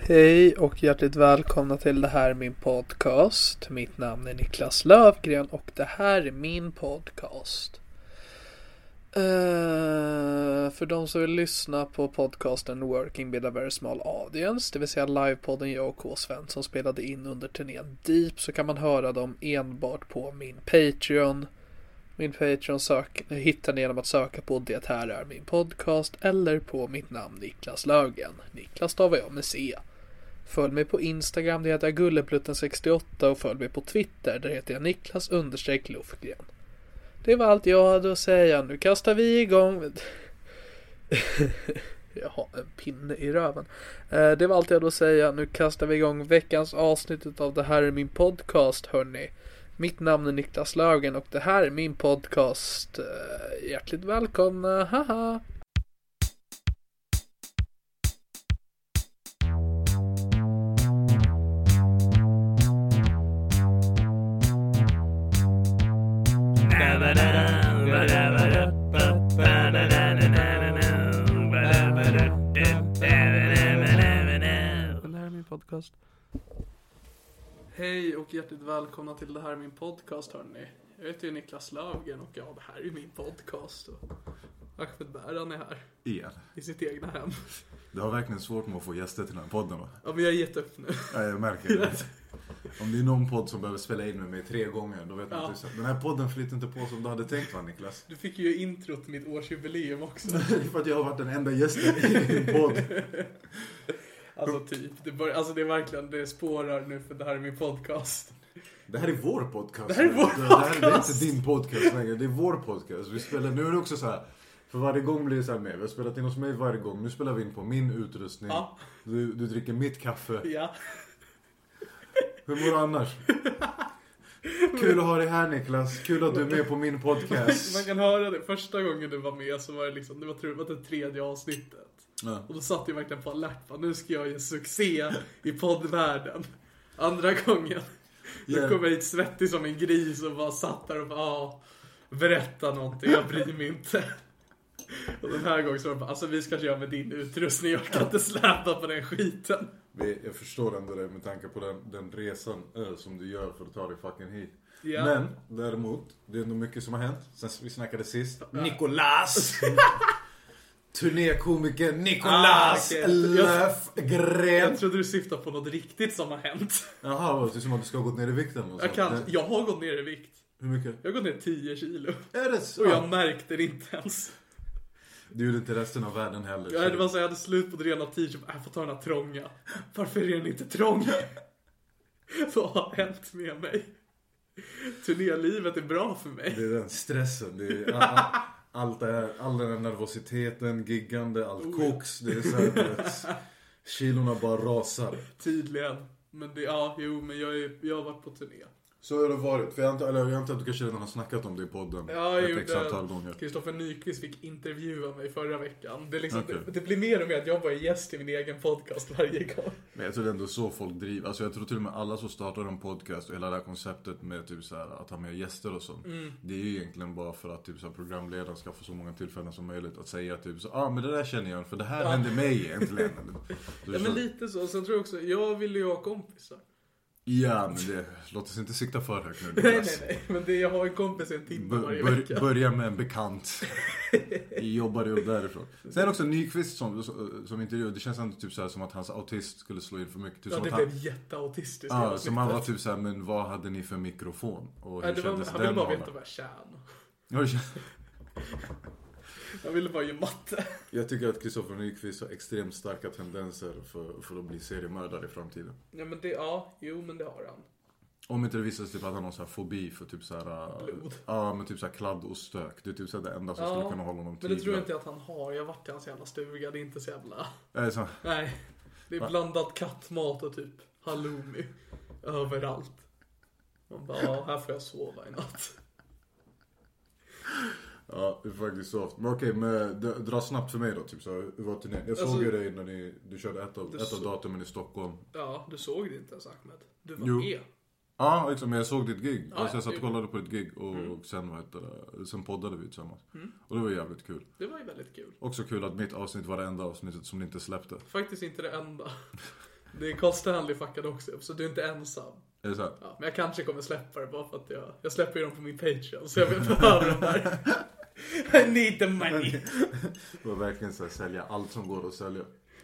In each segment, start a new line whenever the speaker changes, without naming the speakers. Hej och hjärtligt välkomna till det här är min podcast. Mitt namn är Niklas Lövgren och det här är min podcast. Eh, för de som vill lyssna på podcasten Working with a very small audience, det vill säga livepodden jag och K. Svensson spelade in under turnén Deep, så kan man höra dem enbart på min Patreon. Min Patreon sök, hittar ni genom att söka på Det här är min podcast eller på mitt namn Niklas Lögen. Niklas stavar jag med C. Följ mig på Instagram, det heter jag Gullepluten68 och följ mig på Twitter, där heter jag Niklas understreck Lufgren. Det var allt jag hade att säga, nu kastar vi igång. jag har en pinne i röven. Eh, Det var allt jag hade att säga, nu kastar vi igång veckans avsnitt av Det här är min podcast, hörni. Mitt namn är Niklas Lögen och det här är min podcast. Eh, Hjärtligt välkomna, haha! Det här är min podcast. Hej och hjärtligt välkomna till det här är min podcast hörni. Jag heter ju Niklas Löfgren och ja, det här är ju min podcast. Och Ahmed Bäran är här
Igen.
i sitt egna hem.
Du har verkligen svårt med att få gäster till den här podden va?
Ja, men jag har gett upp nu.
Ja, jag märker det. Om det är någon podd som behöver spela in med mig tre gånger, då vet man
Ja.
inte hur Den här podden flyter inte på som du hade tänkt va Niklas?
Du fick ju intro till mitt årsjubileum också.
Det är för att jag har varit den enda gästen i din podd.
Alltså typ. Det, bör, alltså, det är verkligen, det spårar nu för det här är min podcast.
Det här är vår podcast.
Det här är vår
Det här- det här är
podcast.
inte din podcast längre, det är vår podcast. Vi spelar, nu är det också så här. För varje gång blir det så här med. Vi har spelat in hos mig varje gång. Nu spelar vi in på min utrustning.
Ja.
Du, du dricker mitt kaffe.
Ja.
Hur mår du annars? Kul att ha dig här Niklas. Kul att du är med på min podcast.
Man kan höra det. Första gången du var med så var det liksom, det var, tror jag, det var det tredje avsnittet.
Ja.
Och då satt jag verkligen på alert. Bara, nu ska jag ge succé i poddvärlden. Andra gången. Då
Ja.
kom jag hit svettig som en gris och bara satt där och bara, "Ah, berätta någonting, jag bryr mig inte. Och den här gången så var det bara, alltså vi ska köra med din utrustning, jag kan inte släpa på den skiten.
Vi- Jag förstår ändå det med tanke på den, den resan eh, som du gör för att ta dig fucking hit.
Ja.
Men däremot, det är ändå mycket som har hänt sen vi snackade sist.
Nikolas!
Turnékomikern
Ah,
Nicolas
okej.
Löfgren.
Jag trodde du syftade på något riktigt som har hänt.
Jaha, det är som att du ska ha gått ner i vikten och
Jag,
sånt.
kan,
Nej.
jag har gått ner i vikt.
Hur mycket?
Jag har gått ner 10 kilo.
Är det så?
Och jag märkte det inte ens.
Du gjorde inte resten av världen heller.
Jag
så
hade, bara så här, jag hade slut på det rena t-shirt, jag bara, "Jag får ta den här trånga. Varför är den inte trång? Vad har hänt med mig? Turnélivet är bra för mig.
Det är den stressen. Det är all, all, allt det här, all den här nervositeten, giggande, allt koks. Det är så här, du vet, kilorna bara rasar.
Tydligen. Men det, ja, jo, men jag, är, jag har varit på turné.
Så har det varit. För jag antar, eller, jag antar att du kanske redan har snackat om det i podden.
Ja, jag
ett x antal
gjorde...
gånger.
Kristoffer Nyqvist fick intervjua mig förra veckan. Det, är liksom,
Okej.
det, det blir mer och mer att jag bara är gäst i min egen podcast varje gång.
Men jag tror det är ändå så folk driver. Alltså jag tror till och med alla som startar en podcast och hela det här konceptet med typ så här, att ha med gäster och sånt.
Mm.
Det är ju egentligen bara för att typ så här, programledaren ska få så många tillfällen som möjligt att säga typ så ah, men det där känner jag igen, för det här hände mig egentligen. Så det
Ja,
är
men
så-
lite så. Sen tror jag också, jag ville ju ha kompisar.
Ja, men det, låt oss inte sikta för högt nu.
Nej, nej,
Niklas.
nej. Men det, jag har en kompis i en timme
Bör,
varje
bör,
vecka.
börja med en bekant. Jobbar upp därifrån. Sen också Nyqvist som, som intervju. Det känns ändå typ så här som att hans autism skulle slå in för mycket. Typ
Ja,
som
det
att han,
blev jätteautistiskt.
ja,
hela
som han var
snittet.
typ så här, men vad hade ni för mikrofon? Och
Nej, det var, han ville bara
hålla?
veta vad jag tjänade.
Ja, det kän-
Han ville bara ge matte.
Jag tycker att Kristoffer Nyqvist har extremt starka tendenser för, för att bli seriemördare i framtiden.
Ja, men det, ja, jo, men det har han.
Om inte det visar sig typ att han har någon så här fobi för typ så här... äh,
Blod.
Ja, men typ så här kladd och stök. Det är typ så här det enda som skulle kunna hålla
men
honom
det tror jag
tyglar.
inte att han har. Jag har varit i hans jävla stuga. Det är inte så jävla...
Äh, så-
Nej. Det är blandat kattmat och typ halloumi. Överallt. Man bara, ja, här får jag sova i natt.
Ja, det är faktiskt soft. Men okej, men d- dra snabbt för mig då. Typ, så, här, hur var turnén? Jag
Alltså-
såg ju dig när ni, du körde ett av, ett av
så-
datumen i Stockholm.
Ja, du såg det inte ens Ahmed. Du var
Jo.
med.
Ja, liksom, men jag såg ditt gig. alltså, jag satt och
jo.
kollade på ditt gig och
Mm.
sen, vad heter det, sen poddade vi tillsammans. Och det var jävligt kul.
Det var ju väldigt kul.
Också kul att mitt avsnitt var det enda avsnittet som ni inte släppte.
Faktiskt inte det enda. Det är Carl Stanley fuckade också upp, så du är inte ensam.
Är det så här?
Ja, men jag kanske kommer släppa det bara för att jag, jag släpper ju dem på min Patreon, så jag behöver dem där. I need the money.
Det var verkligen så här, sälja allt som går att sälja.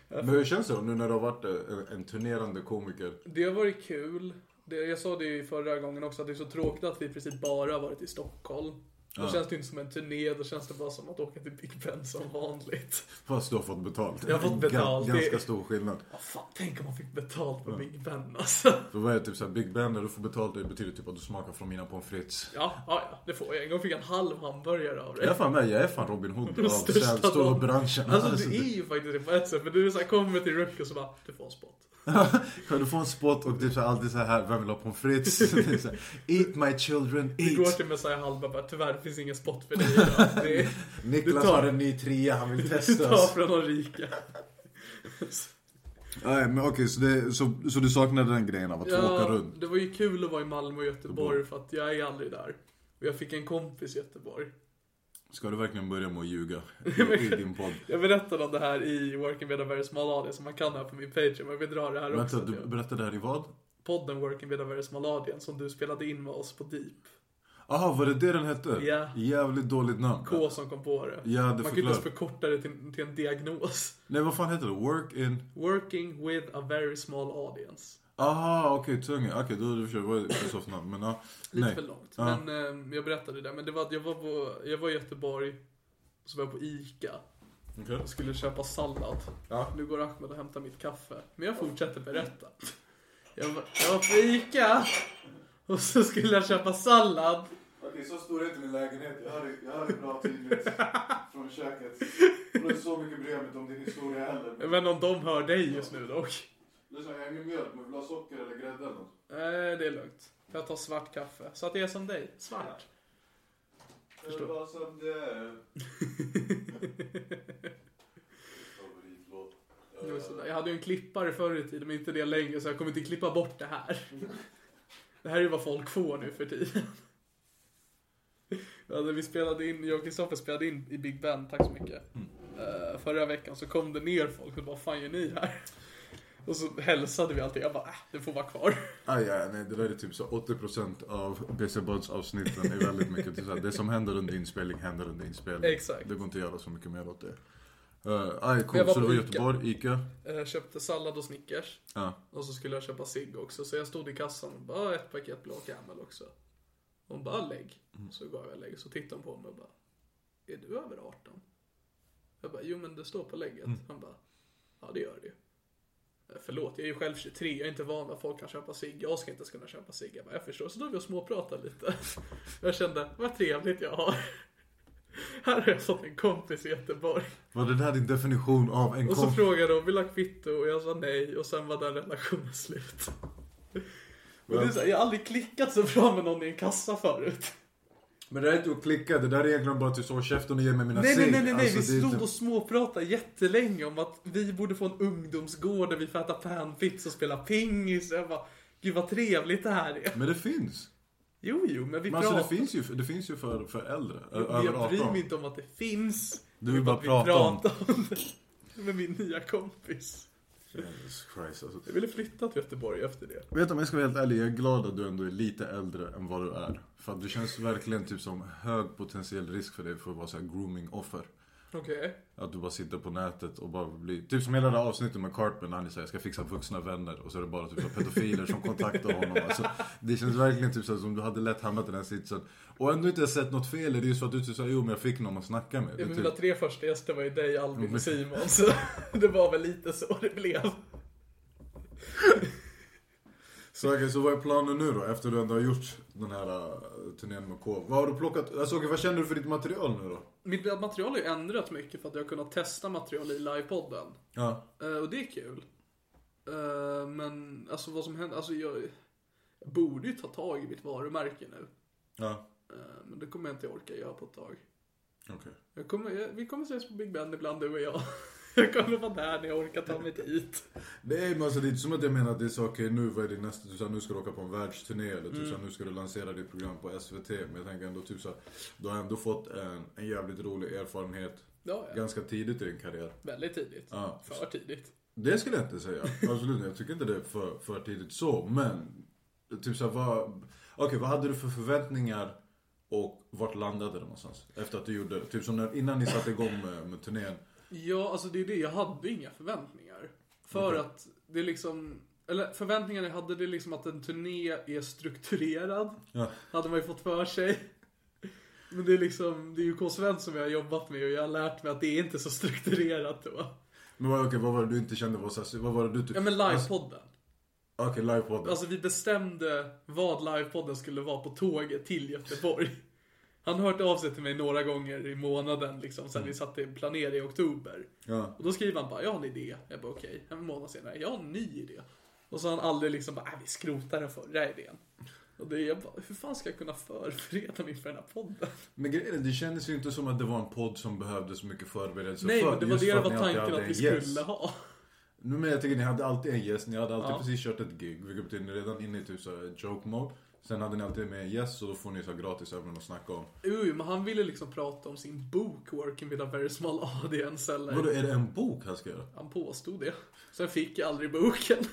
Men hur känns det då, nu när du har varit eh, en, en turnerande komiker?
Det har varit kul. Det, jag sa det ju förra gången också, att det är så tråkigt att vi precis bara har varit i Stockholm. Då känns det ju inte som en turné, då känns det bara som att åka till Big Ben som vanligt.
Fast du har fått betalt.
Jag har fått betalt.
Ga- ganska
Det-
stor skillnad.
Ja, fan, tänk om man fick betalt på Big Ben alltså.
För vad är typ såhär, Big Ben, när du får betalt det betyder typ att du smakar från mina pommes frites.
Ja, ja, ja, det får jag. En gång fick jag en halv hamburgare av
Jag är
dig.
fan med, jag är fan Robin Hood av
största
städstålbranschen.
Alltså du är ju faktiskt det på ett sätt, men du är såhär, kommer till Ruck och så bara, du får en spot.
Kan du få en spot och typ så här, alltid så här, vem vill ha pommes frites? Det är så här, Eat my children,
Vi går
eat!
till Messiah Hallberg bara, tyvärr det finns ingen spot för dig idag. Det är,
Niklas
du tar-
har en ny trea, han vill
du
testa
tar
oss.
från de rika.
Nej men okej, så, det- så, så du saknade den grejen av att få åka
Ja,
runt?
det var ju kul att vara i Malmö och Göteborg för att jag är aldrig där. Och jag fick en kompis i Göteborg.
Ska du verkligen börja med att ljuga i, i din podd?
Jag berättade om det här i Working with a very small audience, som man kan här på min page, men jag vill dra det här också.
Vänta, du berättade det här i vad?
Podden Working with a very small audience som du spelade in med oss på Deep.
Jaha, var det det den hette?
Ja.
Jävligt dåligt namn.
K som kom på det.
Ja, det
man kan ju inte ens
förklarar.
förkorta det till, till en diagnos.
Nej vad fan heter det? Work in...
Working with a very small audience.
Aha, okej, tunga. Okej, då har du förstått vad det är för soft namn. Men ja,
Lite
nej.
för långt.
Ja.
Men ehm, jag berättade det. Men det var att jag var, på, jag var i Göteborg, så var jag på ICA.
Okej.
Jag skulle köpa sallad.
Ja.
Nu går Ahmed och hämtar mitt kaffe. Men jag fortsätter berätta. Jag var, jag var på ICA och så skulle jag köpa sallad.
Okej, så stor är inte min lägenhet. Jag hör, jag hör det bra tydligt från köket. Och det är så mycket bryr jag mig inte om din historia heller.
Jag vet inte om de hör dig just nu dock.
Lyssna, jag har ingen mjölk, men vill du ha socker eller grädde eller något?
Nej, det är lugnt. Jag tar svart kaffe. Så att jag är som dig. Svart.
Förstår. Det var som det är. Favoritlåt.
Det var sådär. Jag hade ju en klippare förr i tiden, men inte det längre. Så jag kommer inte klippa bort det här. Det här är ju vad folk får nu för tiden. Ja, när vi spelade in, jag och Kristoffer spelade in i Big Ben, tack så mycket. Eh, förra veckan så kom det ner folk och bara, vad fan gör ni här? Och så hälsade vi alltid, jag bara, äh, det får vara kvar.
Aj, aj, nej, det där är typ så 80% av BC Buds avsnitten är väldigt mycket till så här, det som händer under inspelning händer under inspelning.
Exakt.
Det går inte att göra så mycket mer åt det. Uh, aj,
Jag
cool.
var
Så
på
det var
Ica.
Göteborg, Ica.
Eh, köpte sallad och Snickers.
Ja.
Och så skulle jag köpa cigg också. Så jag stod i kassan och bara, "Ah, ett paket Blå Camel också. Hon bara, "Ah, lägg. Så gav jag lägg. Så tittade hon på mig och bara, är du över 18? Jag bara, jo men det står på lägget. Han bara, ja det gör det ju. Eh, Förlåt, jag är ju själv 23, jag är inte van att folk kan köpa cigg. Jag ska inte ens kunna köpa cigg. Jag bara, jag förstår. Så då vi och småpratade lite. Jag kände, vad trevligt jag har. Här har jag fått en kompis i Göteborg.
Var det där din definition av en
Och så
kompis?
frågade de, vill du ha kvitto? Och jag sa nej. Och sen var den relationen slut. Men det är så här, jag har aldrig klickat så bra med någon i en kassa förut.
Men det där är inte att klicka, det där är egentligen bara att du sa käften och ge mig mina
Nej, nej,
cigg."
nej, nej, nej.
Alltså, det
vi
är
stod
typ-
och småpratade jättelänge om att vi borde få en ungdomsgård där vi får äta panpizza och spela pingis. Jag bara, gud vad trevligt det här är.
Men det finns.
Jo, jo, men vi
Men alltså
pratar.
det finns ju, det finns ju för, för äldre. ö-
Men
över
jag bryr
18.
mig inte om att det finns.
Du vill
Jag
bara prata om-
prata om det. Med min nya kompis.
Jesus Christ, alltså.
Jag ville flytta till Göteborg efter det.
Vet du om jag ska vara helt ärlig, jag är glad att du ändå är lite äldre än vad du är. För att det känns verkligen typ som hög potentiell risk för dig för att vara så här grooming-offer.
Okej.
Att du bara sitter på nätet och bara blir... Typ som hela det här avsnittet med Cartman när han säger jag ska fixa vuxna vänner och så är det bara typ så här pedofiler som kontaktar honom. Alltså, det känns verkligen typ så här, som du hade lätt hamnat i den sitsen. Och ändå inte sett något fel i det, det är ju så att du typ såhär, jo men jag fick någon att snacka med.
Ja,
Det är
men
typ,
mina tre första gäster var ju dig, Albin och Simon. Så det var väl lite så det blev.
så okej, så vad är planen nu då? Efter du ändå har gjort den här äh, turnén med K. Vad har du plockat? Alltså okej, vad känner du för ditt material nu då?
Mitt material har ju ändrat mycket för att jag har kunnat testa material i livepodden.
Ja.
Eh, och det är kul. Eh, men alltså vad som händer, alltså jag, jag borde ju ta tag i mitt varumärke nu.
Ja.
Eh, men det kommer jag inte orka göra på ett tag.
Okej.
Jag kommer, jag, vi kommer ses på Big Ben ibland du och jag. Jag kommer vara där när jag orkar ta mig dit.
Nej men alltså det är inte som att jag menar att det är så okej nu, vad är det nästa, typ såhär, nu ska du åka på en världsturné eller typ
Mm.
såhär, nu ska du lansera ditt program på SVT. Men jag tänker ändå typ såhär, du har ändå fått en, en jävligt rolig erfarenhet
Ja, ja.
ganska tidigt i din karriär.
Väldigt tidigt.
Ja.
För tidigt.
Det skulle jag inte säga, absolut Jag tycker inte det är för, för tidigt så, men typ såhär vad, okej vad hade du för förväntningar och vart landade det någonstans? Efter att du gjorde, typ som när, innan ni satte igång med, med turnén.
Ja, alltså det är det. Jag hade inga förväntningar. För att det är liksom... Eller förväntningarna jag hade det är liksom att en turné är strukturerad.
Ja.
Hade man ju fått för sig. Men det är liksom, det är ju K. Svensson som jag har jobbat med och jag har lärt mig att det är inte så strukturerat då.
Men vad- okej vad var det du inte kände var såhär, vad var det du typ...
Ja men
Alltså,
livepodden.
Okej, livepodden.
Alltså vi bestämde vad livepodden skulle vara på tåget till Göteborg. Han har hört av sig till mig några gånger i månaden liksom sen vi satte en planering i oktober.
ja.
Och då skriver han bara, jag har en idé. Jag bara okej, en månad senare, jag har en ny idé. Och så har han aldrig liksom bara, "Äh, vi skrotar den förra idén. Och det är jag bara, hur fan ska jag kunna förbereda mig för den här podden?
Men grejen är, det kändes ju inte som att det var en podd som behövde så mycket förberedelser
Nej
för.
men det var
just
det
för
det
ni
var
alltid
tanken
hade
att vi
en gäst.
skulle ha.
Nu men jag tycker ni hade alltid en gäst, ni hade alltid
Ja.
precis kört ett gig, vilket betyder ni redan inne i typ så här joke mode. Sen hade ni alltid med en gäst, så då får ni så här gratis ämnen att snacka om.
Uj, men han ville liksom prata om sin bok Working with a very small audience eller...
Vadå, är det en bok han ska göra?
Han påstod det. Sen fick jag aldrig boken.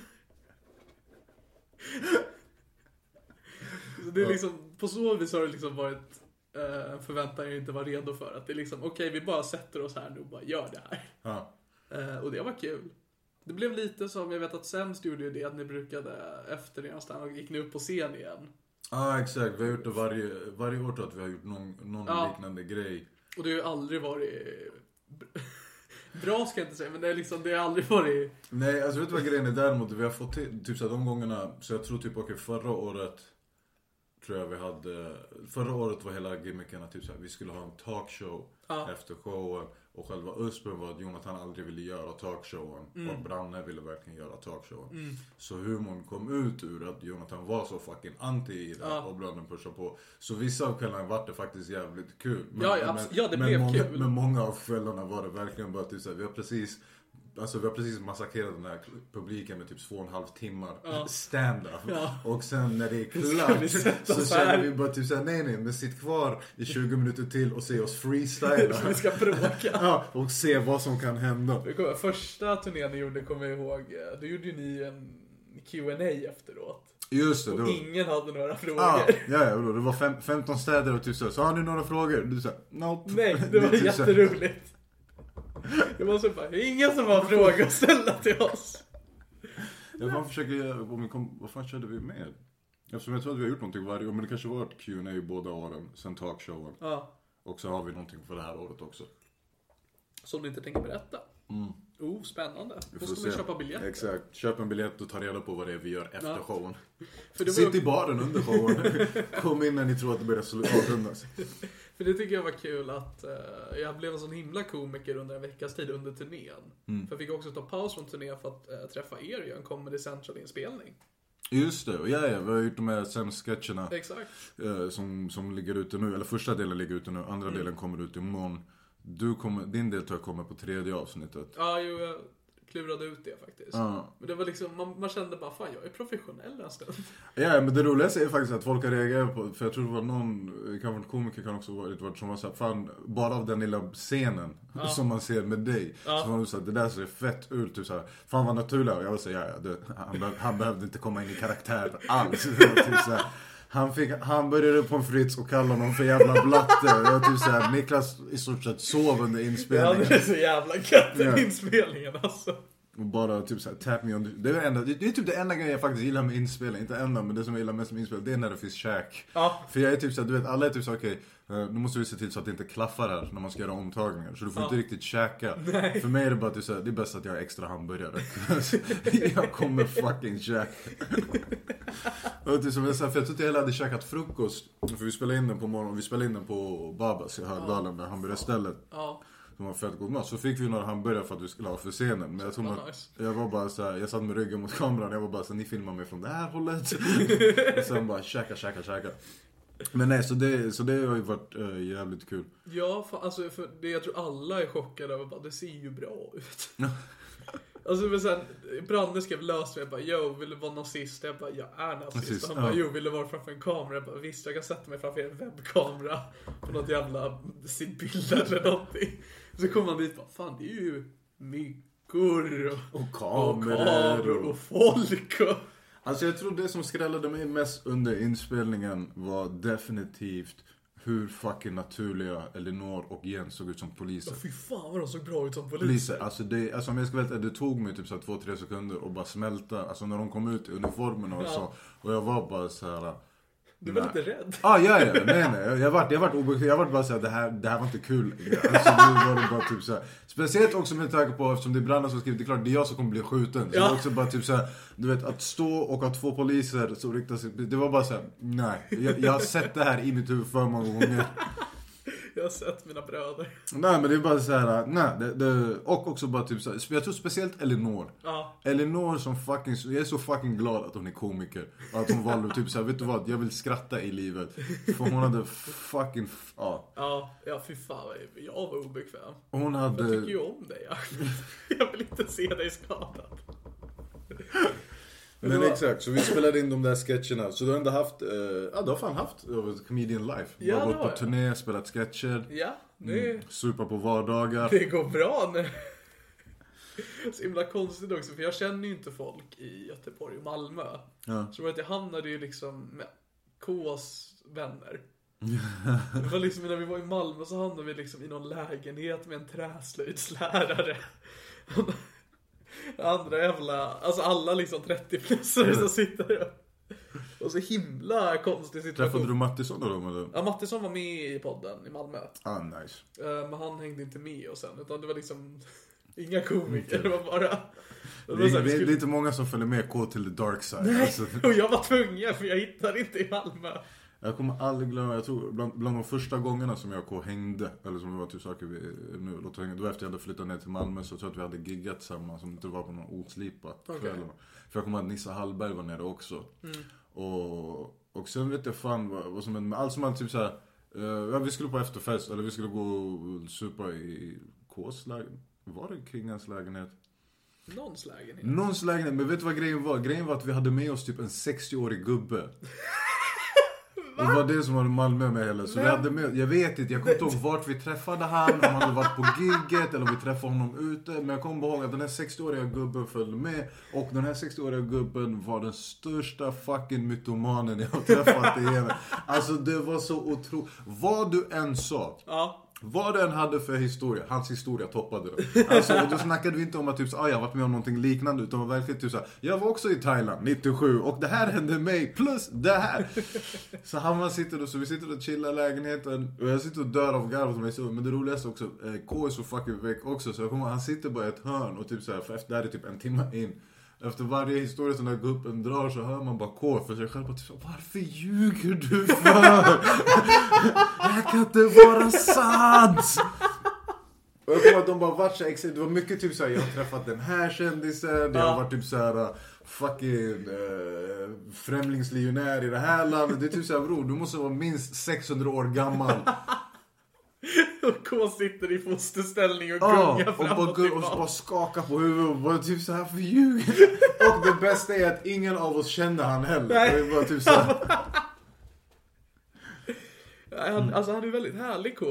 Så det är liksom, på så vis har det liksom varit eh, en förväntan jag inte var redo för. Att det är liksom, okej vi bara sätter oss här nu och bara gör det här.
Ja.
Eh, och det var kul. Det blev lite som, jag vet att Sämst gjorde ju det att ni brukade, efter er stand gick ni upp på scen igen.
ah, exakt. Vi har gjort det varje, varje år tror jag att vi har gjort någon, någon
Ja.
liknande grej.
Och det har ju aldrig varit... Bra ska jag inte säga, men det, är liksom, det har aldrig varit...
Nej, alltså vet du vad grejen är däremot? Vi har fått till, typ så här, de gångerna, så jag tror typ okej förra året tror jag vi hade, förra året var hela gimmicken att typ så här, vi skulle ha en talkshow efter showen och själva USPen var att Jonathan aldrig ville göra talkshowen
Mm.
och Branne ville verkligen göra talkshowen. Så humorn kom ut ur att Jonathan var så fucking anti i det och Branne pushade på. Så vissa av kvällarna vart det faktiskt jävligt kul. Men,
Ja, ja, abs- ja, det
men
blev
många,
kul.
Men många av kvällarna var det verkligen bara typ såhär, vi har precis Alltså vi har precis massakrerat den här publiken med typ två och en halv timmar stand-up. Och sen när det är
Ska vi
klart
sätta
så
oss här?
känner vi bara typ såhär, nej nej, men sitt kvar i 20 minuter till och se oss freestyla.
Vi ska bråka.
ja, och se vad som kan hända.
Jag kommer- Första turnén ni gjorde kommer jag ihåg, eh, då gjorde ju ni en Q&A efteråt.
Just det, det
Och
var...
ingen hade några frågor.
Mm. Ah, ja, ja, det var fem, 15 städer och typ såhär, så har ni några frågor? Du såhär, nope.
Nej,
Det
det
är
var
typ så här-
jätteroligt. Det var så bara, det är ingen som har frågor att ställa till oss.
Jag fan försöker göra, om vi kom, vad fan körde vi med? Eftersom jag tror att vi har gjort någonting varje år, men det kanske var ett Q&A båda åren, sen talkshowen.
Ja,
Och så har vi någonting för det här året också.
som du inte tänker berätta. Oh, spännande. Då
Mm. får
ska man
se.
köpa biljetter.
Exakt. Köp en biljett och ta reda på vad det är vi gör efter
Ja.
showen.
För det,
Sitt i
var,
baren under showen. Kom in när ni tror att det börjar slu- avrundas.
för det tycker jag var kul att eh, jag blev en sån himla komiker under en veckas tid under turnén.
Mm.
För jag fick också ta paus från turnén för att eh, träffa er och göra en Comedy Central-inspelning.
Just det, och ja, ja, vi har gjort de här sämst-sketcherna
Exakt.
eh, som, som ligger ute nu. Eller första delen ligger ute nu, andra
Mm.
delen kommer ut imorgon. Du kommer, din del tror jag kommer på tredje avsnittet.
Ja, jo, jag klurade ut det faktiskt.
Ja.
Men det var liksom, man, man kände bara fan jag är professionell en stund.
Ja, men det roligaste är faktiskt att folk har reagerat på, för jag tror det var någon, eh, kanske en komiker kan också ha varit, varit som var såhär, fan, bara av den lilla scenen som man ser med dig. Så var du såhär, det där ser fett ut, typ såhär, fan vad naturligt. Och jag var såhär, ja, ja, du, han, be- han behövde inte komma in i karaktär alls. Det var typ såhär, han fick hamburgare på en frits och kallade honom för jävla blatte. Det var typ såhär, Niklas i stort sett sov under
Ja,
inspelningen.
det är så jävla gött
Ja.
den inspelningen alltså.
Och bara typ såhär, tap me on the... Det är, det enda, det, det är typ det enda grejen jag faktiskt gillar med inspelning. Inte enda, men det som jag gillar mest med inspelning, det är när det finns käk.
Ja.
För jag är typ såhär, du vet alla är typ såhär, okej, eh, nu måste vi se till så att det inte klaffar här när man ska göra omtagningar. Så du får inte riktigt käka. För mig är det bara typ såhär, det är bäst att jag har extra hamburgare. jag kommer fucking käka. Och typ som jag sa, för jag trodde jag hade käkat frukost. För vi spelade in den på morgonen, vi spelade in den på Babas i Högdalen, det hamburgarstället.
Ja.
Som var fett god mat. Så fick vi några hamburgare för att vi skulle ha för scenen. Men jag tror
Vad
att
nice.
jag var bara så här, jag satt med ryggen mot kameran. Jag var bara så här, ni filmar mig från det här hållet. och sen bara käka, käka, käka. Men nej, så det, så det har ju varit eh, jävligt kul.
Ja, fan, alltså för det jag tror alla är chockade över bara, det ser ju bra ut. alltså men sen, Branne skrev löst mig, jag bara yo, vill du vara nazist? Jag bara, jag är nazist.
Nazist,
Och han bara,
ja.
jo, vill du vara framför en kamera? Jag bara, visst, jag kan sätta mig framför en webbkamera på något jävla Sibylla eller någonting. Så kom han dit och bara, fan det är ju myggor och,
Och
och
kameror.
kameror
Och
och folk och...
Alltså jag tror det som skrällade mig mest under inspelningen var definitivt hur fucking naturliga Elinor och Jens såg ut som poliser.
Fy fan vad de såg bra ut som poliser.
poliser. Alltså, det, alltså om jag ska vara helt ärlig, det tog mig typ så här två, tre sekunder och bara smälta. Alltså när de kom ut i uniformerna och så. Och jag var bara så här.
Du var
Nej.
lite rädd.
Ah, ja, ja, nej, nej. Jag- Jag vart, jag vart obekväm. Jag vart bara såhär, det här, det här var inte kul. Alltså, nu var det bara typ såhär. Speciellt också med tanke på, eftersom det är Branna som skrivit, det är klart det är jag som kommer bli skjuten. Så
Ja.
det var också bara typ såhär, du vet att stå och ha två poliser som riktar sig, det var bara såhär, nej. Jag, jag har sett det här i mitt huvud för många gånger.
Jag har sett mina bröder.
Nej men det är bara så här, nej. Det, det, och också bara typ så här, jag tror speciellt Elinor.
Ja.
Elinor som fucking, jag är så fucking glad att hon är komiker. Och att hon valde typ så här, vet du vad, jag vill skratta i livet. För hon hade fucking, f- ja.
Ja, ja fy fan vad jag- jag var obekväm.
Hon
Jag tycker
hade,
ju om dig. ja. Jag vill inte se dig skadad.
men exakt. Så vi spelade in de där sketcherna. Så du har ändå haft, eh, ja du har fan haft eh, comedian life. Du
Ja,
har
det
gått
har
på
jag.
turné, spelat sketcher,
Ja, nu,
supa på vardagar.
det går bra nu. Så himla konstigt också, för jag känner ju inte folk i Göteborg och Malmö.
Ja.
Så att jag hamnade ju liksom med Ks vänner. Det var liksom när vi var i Malmö så hamnade vi liksom i någon lägenhet med en träslöjdslärare. Andra jävla, alltså alla liksom 30 plusare som sitter där. Och så himla konstig
Träffade du
situation.
Mattisson och dem eller?
Ja, Mattisson var med i podden i Malmö.
Ah nice.
Eh, Men han hängde inte med och sen, utan det var liksom inga komiker. Det var bara... Det
Det
var så
är,
här, vi
det, är, det är
skulle...
inte många som följer med K till the dark side. Alltså,
Och jag var tvungen för jag hittade inte i Malmö.
Jag kommer aldrig glömma, jag tror bland, bland de första gångerna som jag och K hängde, eller som det var typ saker vi nu låter hänga, då efter jag hade flyttat ner till Malmö så tror jag att vi hade giggat tillsammans, som inte var på någon oslipat kväll. eller något. För jag kommer ihåg att Nissa Hallberg var nere också. Och, och sen vet jag fan vad, vad som hände, men allt som hade typ såhär, eh, ja, vi skulle på efterfest, eller vi skulle gå och supa i Ks lägenhet, var det Kringans lägenhet?
Någons lägenhet.
Någons lägenhet, men vet du vad grejen var? Grejen var att vi hade med oss typ en 60-årig gubbe. Det var det som var Malmö med hela. Så vi hade med, jag vet inte, jag kommer inte ihåg vart vi träffade han, om han hade varit på gigget eller om vi träffade honom ute. Men jag kommer ihåg att den här 60-åriga gubben följde med. Och den här 60-åriga gubben var den största fucking mytomanen jag har träffat i hela. Alltså det var så otroligt. Vad du än sa.
Ja.
Vad den hade för historia, hans historia toppade den. Alltså, och då snackade vi inte om att typ, så, ah, jag har varit med om någonting liknande, utan var verkligen typ så här, jag var också i Thailand 97 och det här hände mig, plus det här. Så han man sitter och så vi sitter och chillar i lägenheten och jag sitter och dör av garv åt mig. så- Men det roligaste också, eh, K är så fucking väck också så jag kommer ihåg, han sitter bara i ett hörn och typ så här, för efter det här är typ en timme in. Efter varje historia som den här gubben drar så hör man bara K för sig själv. Bara, typ, så här, Varför ljuger du för? Det här kan inte vara sant! Och jag kommer ihåg att de bara vart så exakt. Det var mycket typ såhär, jag har träffat den här kändisen, jag har varit typ såhär fucking eh, främlingslegionär i det här landet. Det är typ såhär bror, du måste vara minst 600 år gammal.
Och K sitter i fosterställning och
Ja,
gungar
Ah, och,
fram
bara,
och
gu- och så bara
tillbaka.
skaka på huvudet och bara typ såhär, för ljuger Och det bästa är att ingen av oss kände han heller.
Nej.
Det var bara typ såhär,
Nej, Han, alltså han är väldigt härlig K.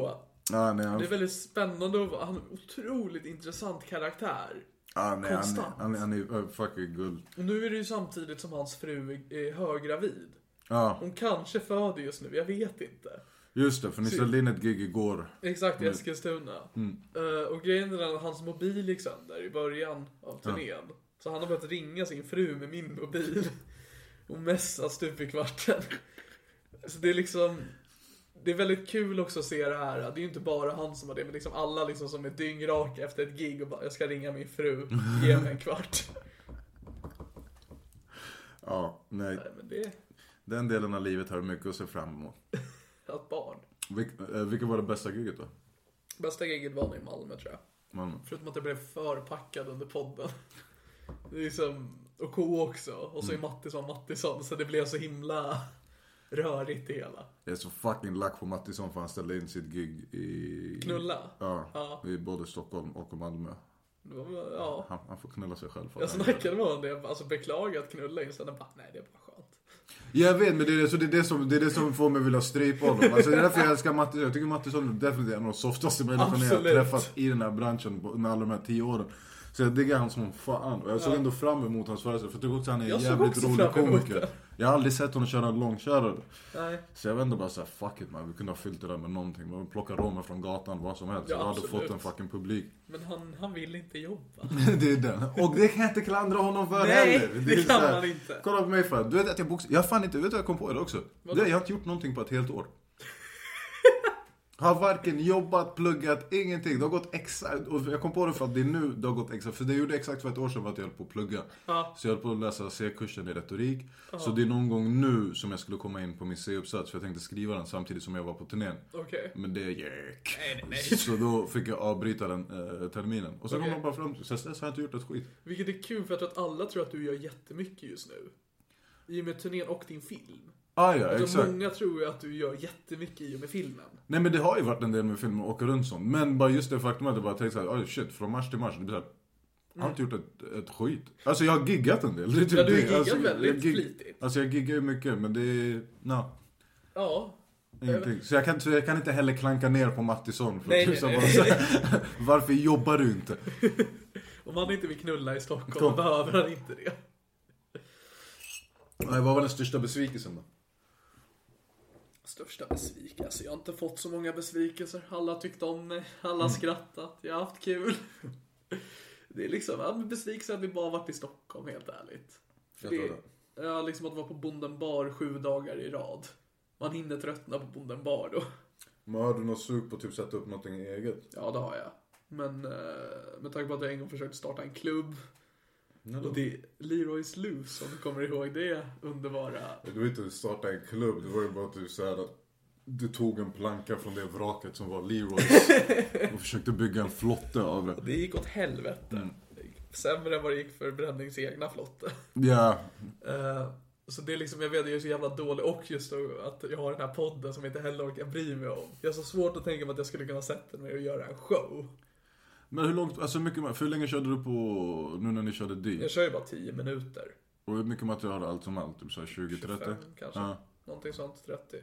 ah, nej, han,
Det är väldigt spännande och han är en otroligt intressant karaktär.
ah, nej, han,
konstant.
han, han är eh, fucking guld.
Och nu är det ju samtidigt som hans fru är- är höggravid.
Ja,
Hon kanske föder just nu, jag vet inte.
just det, för ni ställde in ett gig igår.
Exakt, i Eskilstuna. Eh, och grejen är den att hans mobil gick sönder i början av turnén. Så han har börjat ringa sin fru med min mobil. Och messa stup i kvarten. Så det är liksom... Det är väldigt kul också att se det här. Det är ju inte bara han som har det, men liksom alla liksom som är dyngraka efter ett gig och bara jag ska ringa min fru, ge mig en kvart.
Ja, nej.
Nej, men det är
Den delen av livet har du mycket att se fram emot.
ett barn.
Vilk, eh, vilket var det bästa giget då?
Bästa giget var nog i Malmö tror jag.
Malmö?
Förutom att jag blev förpackad under podden. Det är liksom, och K också. Och så är
Mm.
Mattisson Mattisson. Så det blev så himla rörigt det hela.
Jag är så fucking lack på Mattisson för han ställde in sitt gig i...
Knulla?
Ja,
Ja.
i både Stockholm och Malmö.
Det var- Ja.
Han, han får knulla sig själv. för
Jag
att han-
snackade med honom det. Jag Alltså beklagade att knulla inställde bara, nej det är bara skönt.
Jag vet, men det är det, så det, är det, som, det är det som får mig vilja strypa honom. Alltså, det är därför jag älskar Mattisson. Jag tycker Mattisson är definitivt en av de softaste människorna jag har
Absolut.
träffat i den här branschen på- under alla de här tio åren. Så jag diggar han som fan. Och jag såg ändå fram emot hans föreställning, för jag tycker också han är
Jag
en
såg
jävligt
också
rolig
fram emot
komiker.
det.
Jag har aldrig sett honom köra en långkörare.
Nej.
Så jag vände bara såhär, fuck it man, vi kunde ha fyllt det där med någonting. Man plocka romer från gatan, vad som helst.
Ja,
jag hade
absolut.
fått en fucking publik.
Men han, han vill inte jobba.
det är den. Och det kan jag inte klandra honom för
Nej,
heller.
det
är
kan
så här,
man inte.
Kolla på mig för. Du vet att jag boxar. Jag har fan inte, vet du vad jag kom på det också? Det, jag har inte gjort någonting på ett helt år. Har varken jobbat, pluggat, ingenting. Det har gått exakt, och jag kom på det för att det är nu det har gått exakt, för det gjorde exakt för ett år sedan var att jag höll på att plugga. Så jag höll på att läsa C-kursen i retorik. Så det är någon gång nu som jag skulle komma in på min C-uppsats, för jag tänkte skriva den samtidigt som jag var på turnén.
Okej.
Men det gick.
Nej, nej.
Så då fick jag avbryta den eh, terminen. Och sen
Okej.
kom de bara fram till, sen dess har jag inte gjort ett skit.
Vilket är kul för jag tror att alla tror att du gör jättemycket just nu. I och med turnén och din film.
Ah, ja,
Alltså
exakt.
många tror ju att du gör jättemycket i och med filmen.
Nej men det har ju varit en del med filmer och åka runt sånt. Men bara just det faktum att jag bara tänkte såhär, oh shit, från mars till mars. Det blir såhär, jag har inte gjort ett, ett skit. Alltså jag har giggat en del. Det är typ
Ja, du har
det.
giggat
alltså,
väldigt
jag gig-
flitigt.
Alltså jag giggar ju mycket men det är, no,
Ja.
ingenting. Så jag, kan, så jag kan inte heller klanka ner på Mattisson. För
Nej,
typ
nej,
så här
nej.
bara så här, Varför jobbar du inte?
Om han inte vill knulla i Stockholm
Kom.
behöver han inte det.
Nej, vad var den största besvikelsen då?
Största besvikelse. Alltså, jag har inte fått så många besvikelser. Alla tyckte om mig.
Mm.
Alla har skrattat. Jag har haft kul. Det är liksom, ja men besvikelsen att vi bara varit i Stockholm helt ärligt. För
Jag tar
det. Ja, liksom att vara på Bonden bar sju dagar i rad. Man hinner tröttna på Bonden bar då.
Men har du något sug på att typ sätta upp någonting eget?
Ja, det har jag. Men eh, med tanke på att jag en gång försökte starta en klubb. Och det är Leroys Loose om du kommer ihåg det underbara.
Det var inte att starta en klubb, det var ju bara att du så här, att du tog en planka från det vraket som var Leroys och försökte bygga en flotte av det.
Det gick åt helvete.
Mm.
Sämre än vad det gick för Brännings egna flotte.
Ja,
Eh, så det är liksom, jag vet jag är så jävla dålig och just då att jag har den här podden som jag inte heller orkar bry mig om. Jag har så svårt att tänka mig att jag skulle kunna sätta mig och göra en show.
men hur långt, alltså hur mycket, för hur länge körde du på nu när ni körde
Jag
dit?
kör ju bara 10 minuter.
Och hur mycket material hade allt som allt? Typ såhär 20-30?
25 kanske.
Ja.
Någonting sånt, 30.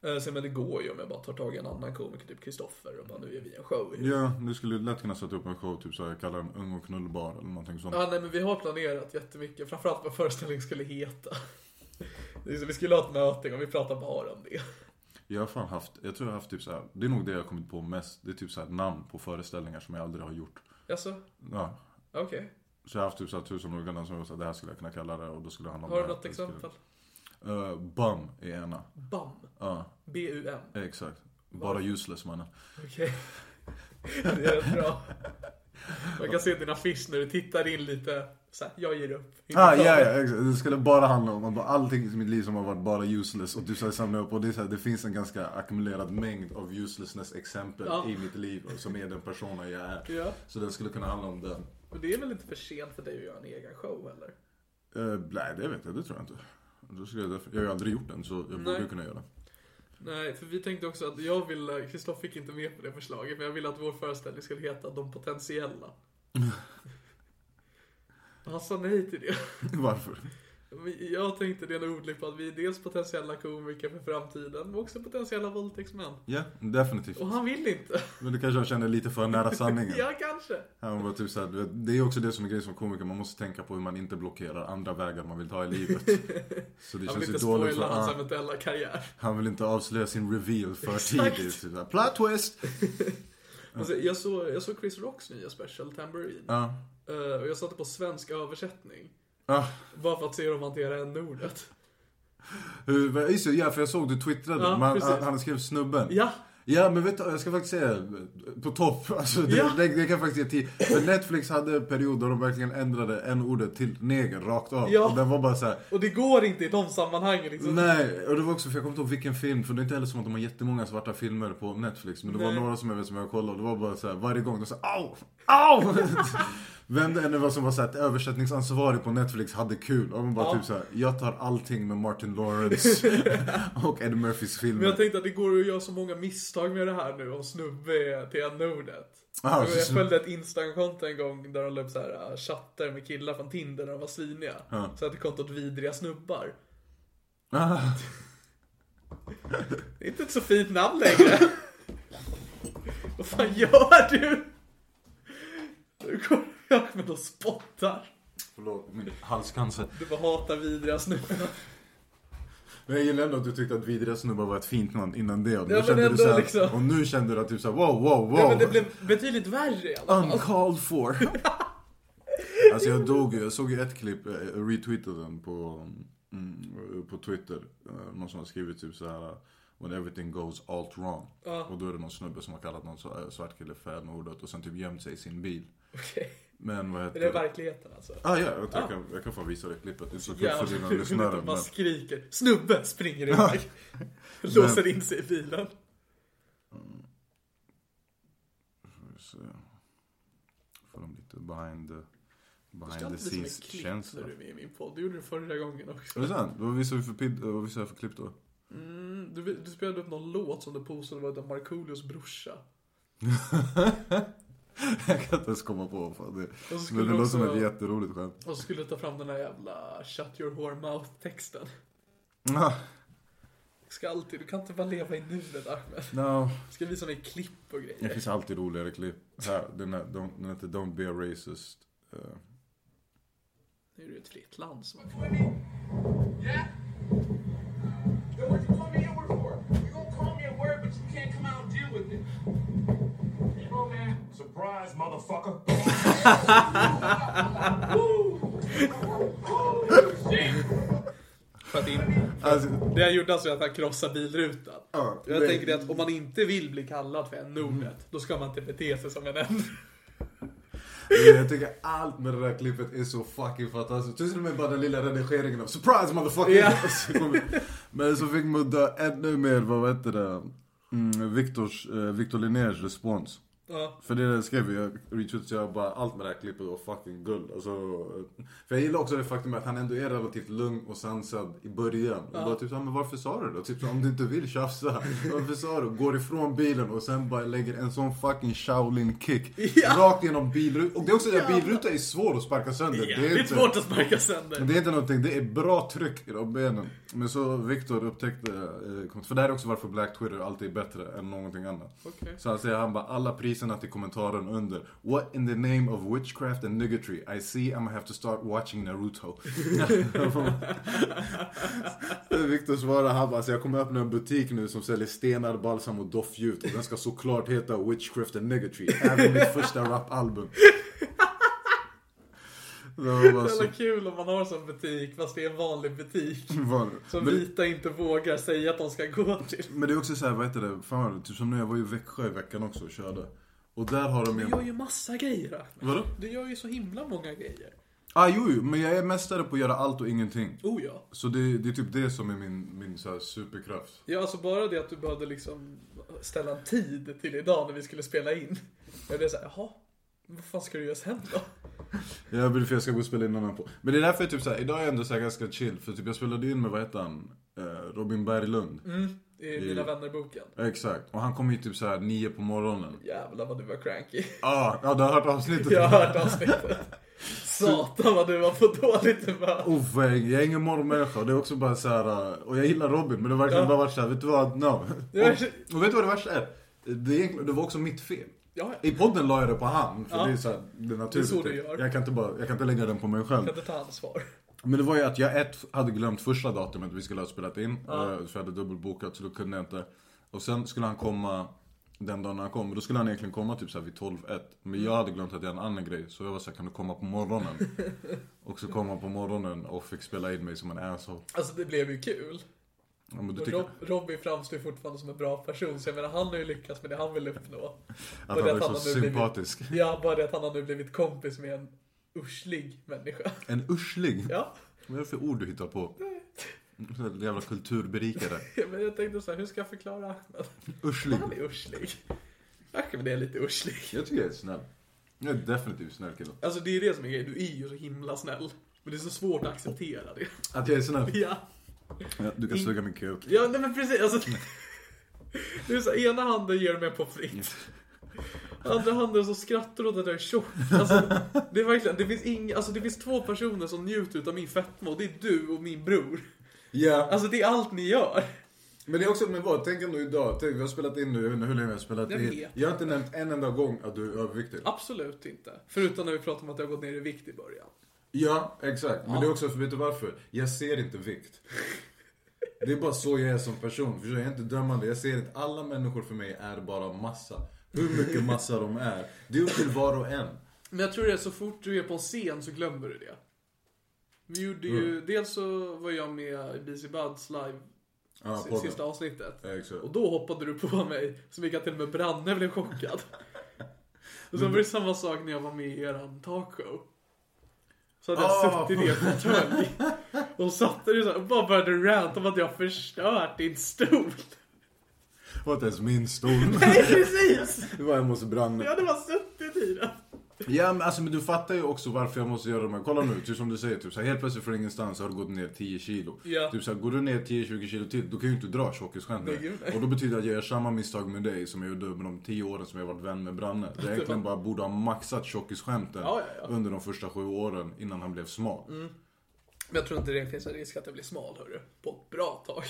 Eh, sen men det går ju om jag bara tar tag i en annan komiker, typ Kristoffer, och bara nu gör vi en show.
Ja, du skulle lätt kunna sätta upp en show, typ såhär kalla den Ung och knullbar eller någonting sånt.
Ja, nej men vi har planerat jättemycket, framförallt vad föreställningen skulle heta. Det är så- Vi skulle ha ett möte och vi pratar bara om det.
Jag har fan haft, jag tror jag har haft typ så här, det är nog det jag har kommit på mest. Det är typ så här namn på föreställningar som jag aldrig har gjort.
Alltså,
Ja.
okej.
Så jag har haft typ så här tusen olika namn som jag sa, det här skulle jag kunna kalla det och då skulle det handla om
Har du
det här.
något
Det skulle-
exempel?
Eh, BAM är ena.
BAM.
Ja,
B-U-M.
exakt. Bara useless mannen.
Okej. Det är rätt bra. Man kan se din affisch när du tittar in lite. Så här, jag ger upp.
Ah, ja, ja, exakt. Det skulle bara handla om att bara allting i mitt liv som har varit bara useless och du så här samlar upp och det, är så här, det finns en ganska ackumulerad mängd av uselessness-exempel
Ja.
i mitt liv och som är den personen jag är.
Ja.
Så den skulle kunna handla om den.
Men det är väl inte för sent för dig att göra en egen show eller?
Eh, nej, det vet jag, det tror jag inte. Då skulle jag, därför- jag har ju aldrig gjort den så jag borde ju kunna göra den.
Nej, för vi tänkte också att jag ville, Kristoff fick inte med på det förslaget, men jag ville att vår föreställning skulle heta De potentiella. Han sa nej till det.
Varför?
Men Jag tänkte det är nog ordligt på att vi är dels potentiella komiker för framtiden, men också potentiella våldtäktsmän.
Ja, definitivt.
Och han vill inte.
Men du kanske jag känner lite för nära sanningen.
Ja, kanske.
Han var typ så här, du vet, det är också det som är grejen som komiker, man måste tänka på hur man inte blockerar andra vägar man vill ta i livet. Så det
Han
känns
vill
ju
inte
dåligt för
spoila
ah,
hans eventuella karriär.
han vill inte avslöja sin reveal för
Exakt.
tidigt. Typ så här, Plot twist!
Alltså, jag, såg, jag såg Chris Rocks nya special, Tambourine.
Ja,
Eh, och jag satte på svensk översättning.
ja.
Bara för att se hur de hanterar n-ordet.
Hur- just det, ja, för jag såg du twittrade,
Ja,
man,
precis.
han, han skrev snubben.
Ja,
Ja, men vet du, jag ska faktiskt säga, på topp, alltså det,
Ja.
det, det kan jag faktiskt ge till. För Netflix hade en period då de verkligen ändrade en ordet till neger rakt av.
Ja.
Och den var bara så här,
och det går inte i de sammanhangen liksom.
Nej, och det var också, för jag kommer inte ihåg vilken film, för det är inte heller som att de har jättemånga svarta filmer på Netflix. Men det
Nej.
var några som jag vet som jag kollade och det var bara så här, varje gång de sa au, au! Vem det än var som var så här, ett översättningsansvarig på Netflix hade kul. Och man bara typ så här, jag tar allting med Martin Lawrence och Eddie Murphys
Men jag
filmer.
tänkte att det går att göra så många misstag med det här nu om snubbe är till n-ordet.
Ah,
jag
så-
följde ett Instagram-konto en gång där de la upp så här, äh, chatter med killar från Tinder när de var sviniga.
Ja.
Så att det kontot vidriga snubbar.
Ah,
Det är inte ett så fint namn längre. Vad fan gör du? Nu kommer jag och spottar.
förlåt, min halscancer.
Du bara hatar vidriga snubbar.
Men jag gillar ändå att du tyckte att vidriga snubbar var ett fint namn innan det. Och nu,
Ja, men
kände
ändå
du så här,
liksom.
och nu kände du att typ såhär, wow, wow, wow.
Ja, men det blev betydligt värre i alla fall.
Uncalled for. alltså jag dog ju. Jag såg ju ett klipp, eh, jag retweetade den på, mm, på Twitter. Eh, Någon som har skrivit typ så här When everything goes alt wrong. Och då är det någon snubbe som har kallat någon så- eh, svart kille för n-ordet och sen typ gömt sig i sin bil.
Okej.
Men vad
Är
heter
det verkligheten alltså?
Ah, ja, jag, jag, kan, jag kan fan visa dig klippet. Det är så kul
Jävlar,
för dina lyssnare.
man
Men...
skriker. Snubben springer iväg. Låser in sig i bilen.
Så, får de lite behind the,
Det
behind
ska
the
alltid bli som ett klipp
scenes-känsla.
när du är med i min podd. Det gjorde du förra gången också.
Är det sant? Vad visade vi för, pid- vad visade jag för klipp då?
Du, du spelade upp någon låt som du påstod var av Markoolios brorsa.
Jag kan inte ens komma på vad fan det
så
är.
skulle
Men det
du
låter som
också-
ett jätteroligt skämt.
Och så skulle du ta fram den här jävla shut your whore mouth texten.
Ah,
Ska alltid, du kan inte bara leva i nuet Ahmed.
No.
Ska visa mig klipp och
Det
grejer.
finns alltid roligare klipp. Här, den, här, don't, den heter Don't be a racist. Eh,
Nu är det ett fritt land som...
Yeah? Then what you call me a word for? You gonna call me a word, but you can't come out and deal with it. You know, man. Surprise, motherfucker. Woo! Woo! Shit!
För att in,
Alltså,
det jag gjorde alltså är att han krossade bilrutan.
Ja,
jag
det-
tänker det att om man inte vill bli kallad för en ordet då ska man inte bete sig som en n
jag tycker allt med det där klippet är så fucking fantastiskt. Till och med bara den lilla redigeringen av Surprise motherfucker!
Ja.
Så kommer- Men så fick Mudda ännu mer, vad heter det, mm, Victors, eh, Victor Linnés respons.
Ja.
För det där skrev jag, retweetade så jag bara allt med det här klippet var fucking guld. Alltså, för jag gillar också det faktum att han ändå är relativt lugn och sansad i början. Och bara typ så, här, men varför sa du det då? Typ så, om du inte vill tjafsa, varför sa du? Går ifrån bilen och sen bara lägger en sån fucking Shaolin kick rakt genom bilrutan. Och det är också det, att bilruta är svår att sparka sönder.
Det är svårt att sparka sönder.
Men det är inte någonting, det är bra tryck i de benen. Men så Viktor upptäckte, eh, kom- för det här är också varför Black Twitter alltid är bättre än någonting annat.
Okej.
Så han säger han bara, alla polisen att i kommentaren under What in the name of witchcraft and niggatry I see I'm gonna have to start watching Naruto. Victor svarar han bara, alltså jag kommer öppna en butik nu som säljer stenar, balsam och doftljus och den ska såklart heta Witchcraft and niggatry. Även mitt första rapalbum. Det var bara
Det
så
är kul om man har en sån butik fast det är en vanlig butik.
vanligt.
Som
Mm. Men-
vita inte vågar säga att de ska gå till.
Men det är också så här, vad heter det, fan, vad är det? typ som när jag var i Växjö i veckan också och körde. Och där har de
Du
ju...
gör ju massa grejer Ahmed.
Vadå?
Du gör ju så himla många grejer.
Ah, jo, jo, men jag är mästare på att göra allt och ingenting.
Oh ja.
Så det, det är typ det som är min, min så här superkraft.
Ja, alltså bara det att du behövde liksom ställa en tid till idag när vi skulle spela in. Jag blev såhär, jaha, vad fan ska du göra sen då?
Jag vill för jag ska gå och spela in en annan på. Men det är därför jag typ så här, idag är jag ändå så här ganska chill. För typ jag spelade in med, vad heter han? Eh, Robin Berglund.
I
Mm.
Mina vänner-boken.
Ja, Exakt. Och han kom ju typ så här nio på morgonen.
Jävlar vad du var cranky.
Ah, ja, du har hört avsnittet.
Jag har hört avsnittet. Satan vad du var på dåligt humör.
Oh, vad jag jag är ingen morgonmänniska och det är också bara så här. eh, och jag gillar Robin men det har verkligen bara varit såhär, vet du vad, no.
Ja.
Och, och vet du vad det värsta är? Det, är egentligen- det var också mitt fel.
Ja,
I podden la jag det på han, för
Ja.
det är så här, det är naturligt.
Det är så du gör.
Jag kan inte, bara, jag kan inte lägga den på mig själv.
kan inte ta ansvar.
Men det var ju att jag ett, hade glömt första datumet vi skulle ha spelat in. eh, För jag hade dubbelbokat så då kunde jag inte. Och sen skulle han komma den dagen han kom. Och då skulle han egentligen komma typ så här vid 12-1. Men jag hade glömt att jag hade en annan grej. Så jag var såhär, kan du komma på morgonen? och så kom han på morgonen och fick spela in mig som en asshole.
Alltså det blev ju kul.
Ja, men du
Och
tycker
Rob, Robbie framstår ju fortfarande som en bra person, så jag menar han har ju lyckats med det han vill uppnå.
att
och
han
det
är
att
så
han har blivit-
sympatisk.
Ja, bara det att han har nu blivit kompis med en uschlig människa.
En ursling?
Ja.
Vad är det för ord du hittar på? En Jävla kulturberikare.
Men jag tänkte så här, hur ska jag förklara Ahmed?
Ursling.
Han är uschlig. Ahmed är lite uschlig.
Jag tycker jag är snäll. Jag är definitivt snäll kille.
Alltså det är det som är grejen, du är ju så himla snäll. Men det är så svårt att acceptera det.
Att jag är snäll?
Ja.
Ja, du kan suga min kuk.
Ja, nej men precis. Alltså, det är så, här, ena handen ger du mig en pommes frites. Andra handen så skrattar du åt att jag är tjock. Alltså, det är verkligen, det finns, ing, alltså, det finns två personer som njuter utav min fetma och det är du och min bror.
Ja.
Alltså det är allt ni gör.
Men det är också, men vad, tänk ändå idag, tänk, vi har spelat in nu, jag vet inte hur länge vi har spelat
Jag
in.
vet.
Jag har inte nämnt en enda gång att du typ. är överviktig.
Absolut inte. Förutom när vi pratar om att jag har gått ner i vikt i början.
Ja, exakt. Men det är också, för vet du varför? Jag ser inte vikt. Det är bara så jag är som person. Förstår du? Jag är inte dömande. Jag ser inte, alla människor för mig är bara massa. Hur mycket massa de är. Det är upp till var och en.
Men jag tror det är så fort du är på en scen så glömmer du det. Vi gjorde ju,
Mm.
dels så var jag med i BC Buds live
Ja,
si-
podden.
sista avsnittet.
Ja, exakt.
Och då hoppade du på mig, så mycket att till och med Branne blev chockad. Och
Mm.
sen var det samma sak när jag var med i eran talkshow. Så hade
Ah.
jag suttit i er fåtölj. Och satte dig så här och bara började ranta om att jag har förstört din stol.
Det var inte ens min stol.
Nej precis!
Det var hemma hos Branne.
Jag hade bara suttit i den.
Ja men, alltså, men du fattar ju också varför jag måste göra de här. Kolla nu, typ som du säger, typ, så här, helt plötsligt från ingenstans har du gått ner 10 kilo.
Ja.
Typ så här, går du ner 10-20 kilo till, då kan ju inte dra tjockisskämt
Nej, gud, nej.
Och då betyder det att jag gör samma misstag med dig som jag gjorde med de 10 åren som jag varit vän med Branne. Där jag egentligen bara borde ha maxat tjockisskämten
Ja, ja, ja. Mm.
under de första sju åren innan han blev smal.
Men jag tror inte det finns en risk att jag blir smal hörru. På ett bra tag.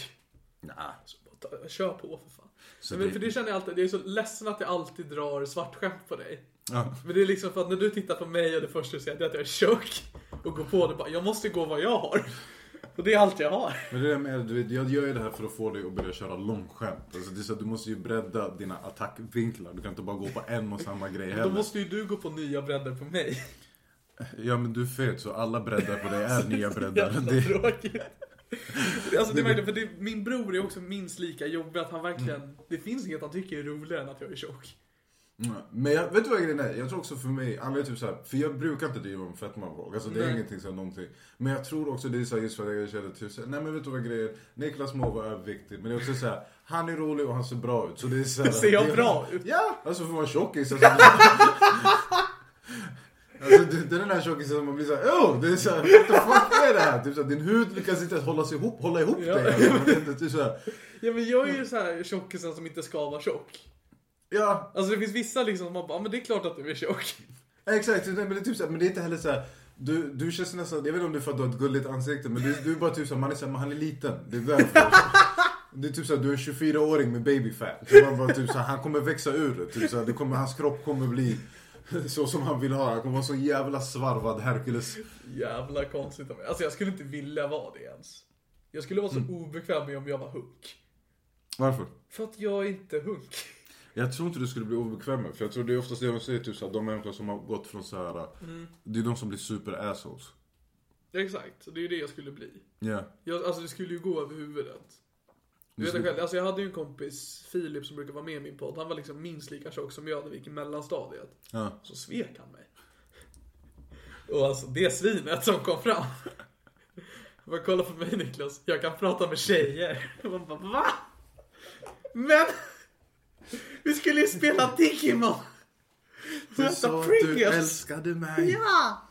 Nah.
Så bara ta- Kör på för fan.
Så
men,
det-
För det känner jag alltid, det är så ledsen att jag alltid drar svartskämt på dig.
Ja.
Men det är liksom för att när du tittar på mig och det första du ser det är att jag är tjock och går på det bara, jag måste gå vad jag har. Och det är allt jag har.
Men det är med, du vet, jag gör ju det här för att få dig att börja köra långskämt. Alltså, det är så att du måste ju bredda dina attackvinklar. Du kan inte bara gå på en och samma grej
Då
heller.
måste ju du gå på nya bredder på mig.
Ja men du är fet så alla breddar på dig är nya breddar.
Jävla
Det...
tråkigt. Alltså det är verkligen, för det, min bror är också minst lika jobbig att han verkligen, det finns inget han tycker är roligare än att jag är tjock.
Mm. Men jag, vet du vad grejen är? Jag tror också för mig, anledningen typ så här, för jag brukar inte driva med fetmabråk. Alltså det är
Nej.
ingenting som någonting. Men jag tror också det är så här, just för att jag känner typ så här, nej men vet du vad grejen är? Niklas Må var överviktig men det är också så här, han är rolig och han ser bra ut. Så det är så här,
Ser jag
det är-
bra ut?
Ja! Alltså för man är tjockis. Alltså, alltså det, det är den här tjockisen som man blir såhär, oh, det är såhär, what the fuck är det här? Typ så här, din hud lyckas inte ens hålla sig ihop, hålla ihop
Ja.
dig. Alltså, man vet inte, typ så här,
Ja men jag är ju så här tjockisen som inte ska vara tjock.
ja,
Alltså det finns vissa liksom som man bara, "Ja, men det är klart att du är tjock.
Ja, Exakt, nej, men det är typ så här, men det är inte heller så här. Du, du känns nästan, jag vet inte om det är för att du har ett gulligt ansikte men du, du är bara typ såhär, man är såhär, men han är liten. Det är därför. Det är typ såhär, du är en 24-åring med babyfat. Så man bara, typ såhär, han kommer växa ur det. Typ såhär, det kommer, hans kropp kommer bli så som han vill ha. Han kommer vara så jävla svarvad Hercules.
Jävla konstigt av mig. Alltså jag skulle inte vilja vara det ens. Jag skulle vara så obekväm med om jag var hunk.
Varför?
För att jag är inte hunk.
Jag tror inte du skulle bli obekväm med. För jag tror det är oftast det de säger, typ såhär, de människor som har gått från såhär. Det är de som blir super-assholes.
Exakt, det är ju det jag skulle bli.
Ja.
Jag, alltså det skulle ju gå över huvudet. Du
Du
vet
skulle-
själv, alltså jag hade ju en kompis, Filip, som brukar vara med i min podd. Han var liksom minst lika tjock som jag när vi gick i mellanstadiet.
Ja.
Så svek han mig. Och alltså det svinet som kom fram. Bara kolla på mig Niklas, jag kan prata med tjejer. Och man bara va? Men! Vi skulle ju spela Digimon!
Du
Vänta,
sa att Alltså, du
Pringles.
älskade mig.
Ja!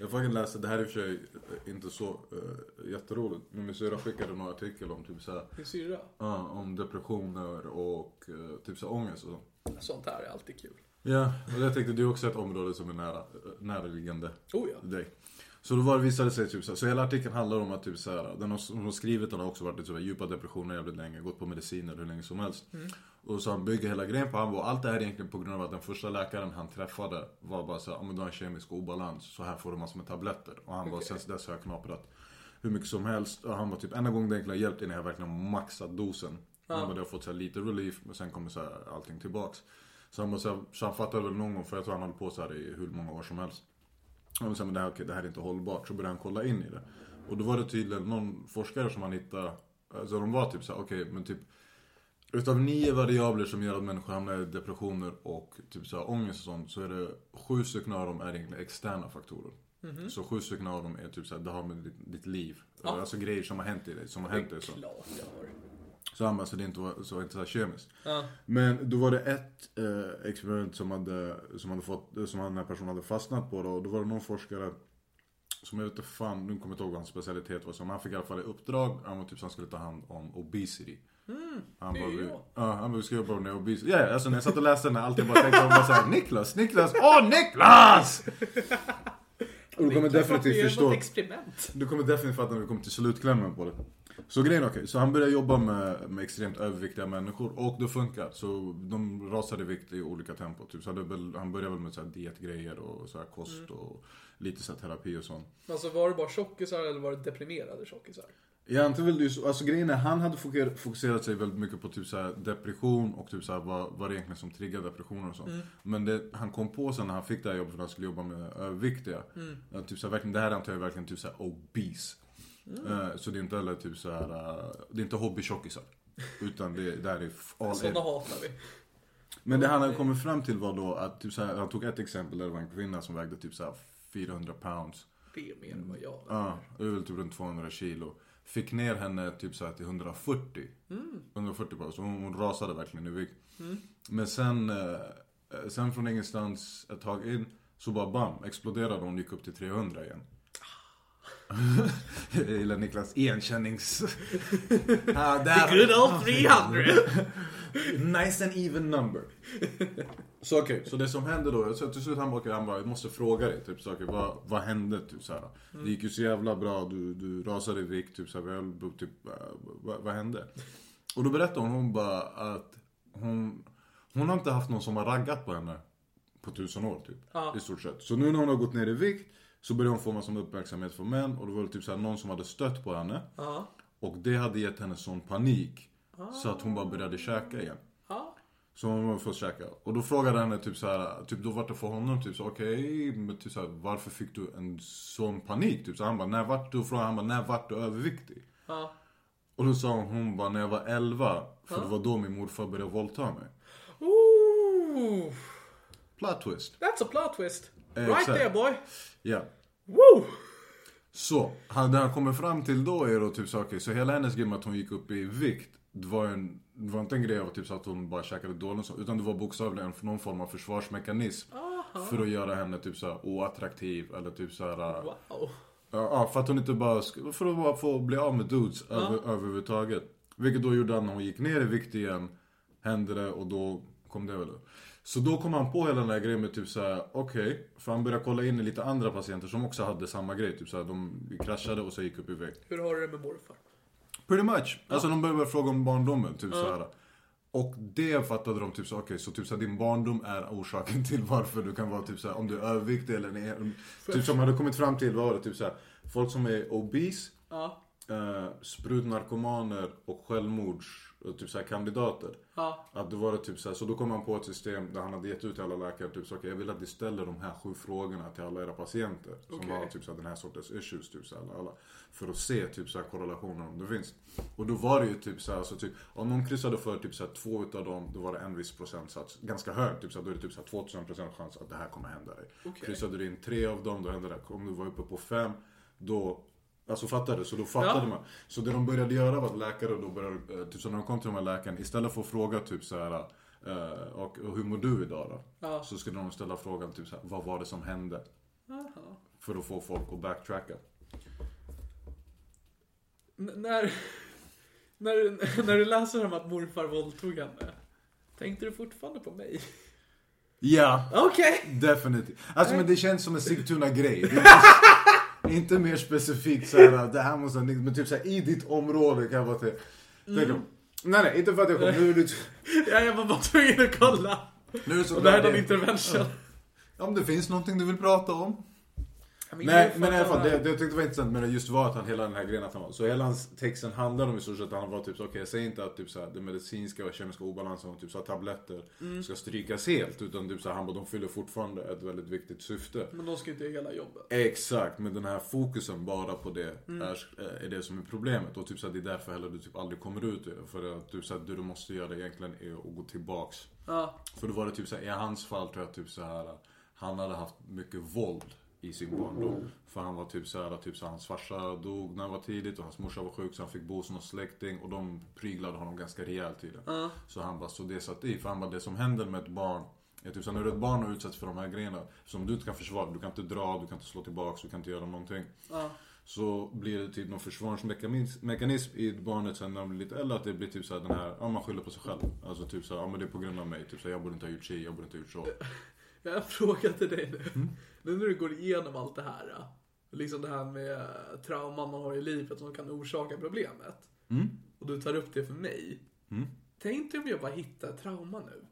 Jag fucking läste, det här är i och för sig eh, inte så uh, jätteroligt. Men min syrra skickade några artikel om typ såhär,
Din syrra?
ja, om depressioner och eh, typ såhär ångest och sånt.
Sånt här är alltid kul.
Ja, och jag tänkte det är också ett område som är nära, eh, närliggande
Oh ja.
dig. Så då var, visade det sig typ så, här, så hela artikeln handlar om att typ så här, den har, som har skrivit den har också varit i typ, här djupa depressioner jävligt länge, gått på mediciner hur länge som helst. Och så han bygger hela grejen på han och allt det här är egentligen på grund av att den första läkaren han träffade var bara så här, "Ah, men du har en kemisk obalans, så här får du massor med tabletter. Och han bara, sen dess har jag knaprat hur mycket som helst. Och han var typ, enda gången det egentligen har hjälpt är när jag verkligen maxat dosen. Han bara, det har fått så här, lite relief, men sen kommer så här, allting tillbaks. Så han, bara, så, här, så han fattade väl någon gång, för jag tror han höll på så här i hur många år som helst. Och sen, men det här, okej, det här är inte hållbart. Så började han kolla in i det. Och då var det tydligen någon forskare som han hittade. Alltså de var typ så här, okej, men typ. Utav nio variabler som gör att människor hamnar i depressioner och typ så här, ångest och sånt. Så är det sju stycken av dem är egentligen externa faktorer. Så sju stycken av dem är typ så här, det har med ditt, ditt liv. Alltså grejer som har hänt i dig, som har hänt dig. Så.
Klart jag har.
Så han bara, så det inte var så, inte så här kemiskt.
Ja.
Men då var det ett eh, experiment som, hade, som, hade fått, som den här personen hade fastnat på. Då, och då var det någon forskare som jag vet inte fan, nu kommer jag inte ihåg vad hans specialitet var. Så, men han fick i alla fall i uppdrag han var typ, så han skulle ta hand om obesity. Han
det
bara,
är
vi,
jag.
ja, han bara, vi ska jobba med obesity. Ja, ja, alltså när jag satt och läste den här, alltid bara tänkte jag bara såhär, Niklas, Niklas, åh Niklas! Och du kommer definitivt förstå.
Det är något experiment.
Du kommer definitivt fatta när vi kommer till slutklämmen på det. Så grejen är okej, så han började jobba med, med extremt överviktiga människor och det funkar. Så de rasade i vikt i olika tempo. Typ. Så hade väl, han började väl med så här dietgrejer och så här kost och lite så här terapi och sånt.
Alltså var det bara tjockisar eller var det deprimerade tjockisar?
Jag antar väl det är så- alltså grejen är han hade fokuser- fokuserat sig väldigt mycket på typ så här depression och typ så här vad, vad det egentligen som triggar depressioner och sånt. Men det, han kom på sen när han fick det här jobbet för att han skulle jobba med överviktiga. att Typ så här, verkligen, det här antar jag är verkligen typ så här obese. Eh, Så det är inte heller typ så här, eh, det är inte hobbytjockisar. Utan det, det här är f- all in.
Såna hatar vi.
Men det han hade kommit fram till var då att typ så här, han tog ett exempel där det var en kvinna som vägde typ så här 400 pounds.
Det är mer än vad jag
Ja, det är väl typ runt 200 kilo. Fick ner henne typ så här till 140. 140 bara, så hon, hon rasade verkligen i vikt. Men sen, eh, sen från ingenstans ett tag in så bara bam, exploderade hon och gick upp till 300 igen. Jag gillar Niklas igenkännings... ah, där.
Good old 300!
Nice and even number. så okej, så det som hände då, så till slut han bara, okej, han bara, jag måste fråga dig, typ så okej, vad, vad hände? Typ så här. Det gick ju så jävla bra, du, du rasade i vikt, typ så här, vi höll- typ, äh, vad, vad hände? Och då berättade hon, hon bara att hon, hon har inte haft någon som har raggat på henne på tusen år typ. I stort sett. Så nu när hon har gått ner i vikt så började hon få massor med uppmärksamhet från män och det var väl typ så här, någon som hade stött på henne. Och det hade gett henne sån panik så att hon bara började käka igen. Så hon var först käka. Och då frågade henne typ så här, typ då vart det för honom typ så okej, men typ så här, varför fick du en sån panik? Typ så han bara, när vart du? Och frågade han bara, när vart du överviktig?
Ja.
Och då sa hon, hon bara, när jag var 11, för det var då min morfar började våldta mig.
Ooh,
Plot twist.
that's a plot twist. Right
Exakt.
there boy.
Ja.
Woo!
Så, han, det han kommer fram till då är då typ så okej, så hela hennes grej med att hon gick upp i vikt det var, en, det var inte en grej av typ så att hon bara käkade dåligt och så, utan det var bokstavligen någon form av försvarsmekanism för att göra henne typ så här oattraktiv eller typ så här. äh,
Wow.
Ja, ja, för att hon inte bara sk- för att bara få bli av med dudes över, överhuvudtaget. Vilket då gjorde att när hon gick ner i vikt igen hände det och då kom det väl upp. Så då kom han på hela den här grejen med typ såhär, okej. för han började kolla in i lite andra patienter som också hade samma grej. Typ såhär, de kraschade och så gick upp i vikt.
Hur har du det med morfar?
Pretty much. Alltså de började fråga om barndomen, typ så här. Och det fattade de typ så okej, så typ så här, din barndom är orsaken till varför du kan vara typ så här, om du är överviktig eller en, Typ som hade kommit fram till, vad var det, typ så här, folk som är obese,
Ja.
eh, sprutnarkomaner och självmords, och typ så här, kandidater.
Ja.
Att det var det typ så här, så då kom han på ett system där han hade gett ut till alla läkare typ så okej, jag vill att ni ställer de här sju frågorna till alla era patienter. Som
Okej.
har typ så här, den här sortens issues, typ så här, alla, alla. För att se typ så här korrelationer om det finns. Och då var det ju typ så här, alltså, typ, om någon kryssade för typ så här, två utav dem, då var det en viss procentsats, ganska hög, typ så här, då är det typ så här 2000% chans att det här kommer hända dig.
Okej.
Kryssade du in tre av dem, då hände det. Om du var uppe på fem, då Alltså fattar du? Så då fattade man. Så det de började göra var att läkare då började, eh, typ så när de kom till de här läkaren, istället för att fråga typ så här. eh, Och, och hur mår du idag då?
Ja.
Så skulle de ställa frågan typ så här, vad var det som hände? För att få folk att backtracka.
N- när, när, du, när du läser om att morfar våldtog henne, tänkte du fortfarande på mig?
Ja,
Okej!
definitivt. Alltså men det känns som en Sigtuna-grej. Det är inte- Inte mer specifikt såhär, det här måste ha nick-" men typ såhär i ditt område kan jag bara tänka. tänka, Nej Mm. nej, inte för att jag kom. Nu är det,
Ja, jag var bara tvungen att kolla.
nu är det så
Och det här är
bra
någon intervention.
Om det finns någonting du vill prata om.
Men
Nej,
jag
men i alla fall,
fattar-
det, det jag tyckte var intressant med det just var att han hela den här grejen att han var. Så hela hans texten handlar om i stort sett att han var typ så, okej jag säger inte att typ så här, den medicinska och kemiska obalansen och typ så här, tabletter ska strykas helt. Utan typ så här, han bara, de fyller fortfarande ett väldigt viktigt syfte.
Men de ska inte göra hela jobbet.
Exakt, men den här fokusen bara på det är, eh, är det som är problemet. Och typ så här, det är därför heller du typ aldrig kommer ut ur det. För att typ så här, det du måste göra egentligen är att gå tillbaks.
Ja,
För då var det typ så här, i hans fall tror jag typ så här han hade haft mycket våld i sin barndom. För han var typ så här, typ så här, hans farsa dog när han var tidigt och hans morsa var sjuk så han fick bo hos någon släkting och de pryglade honom ganska rejält tydligen. Så han bara, så det satt i. För han bara, det som händer med ett barn är typ så här, när du är ett barn och utsätts för de här grejerna som du inte kan försvara, du kan inte dra, du kan inte slå tillbaks, du kan inte göra någonting. Så blir det typ någon försvarsmekanism mekanism i barnet sen när de blir lite äldre. Att det blir typ såhär den här, ja man skyller på sig själv. Alltså typ såhär, ja men det är på grund av mig. Typ såhär, jag borde inte ha gjort si, jag borde inte ha gjort så.
jag har en fråga till dig nu.
Mm.
Nu när du går igenom allt det här. ja, Liksom det här med trauman man har i livet som kan orsaka problemet.
Mm.
Och du tar upp det för mig. Tänk dig om jag bara hittar ett trauma nu.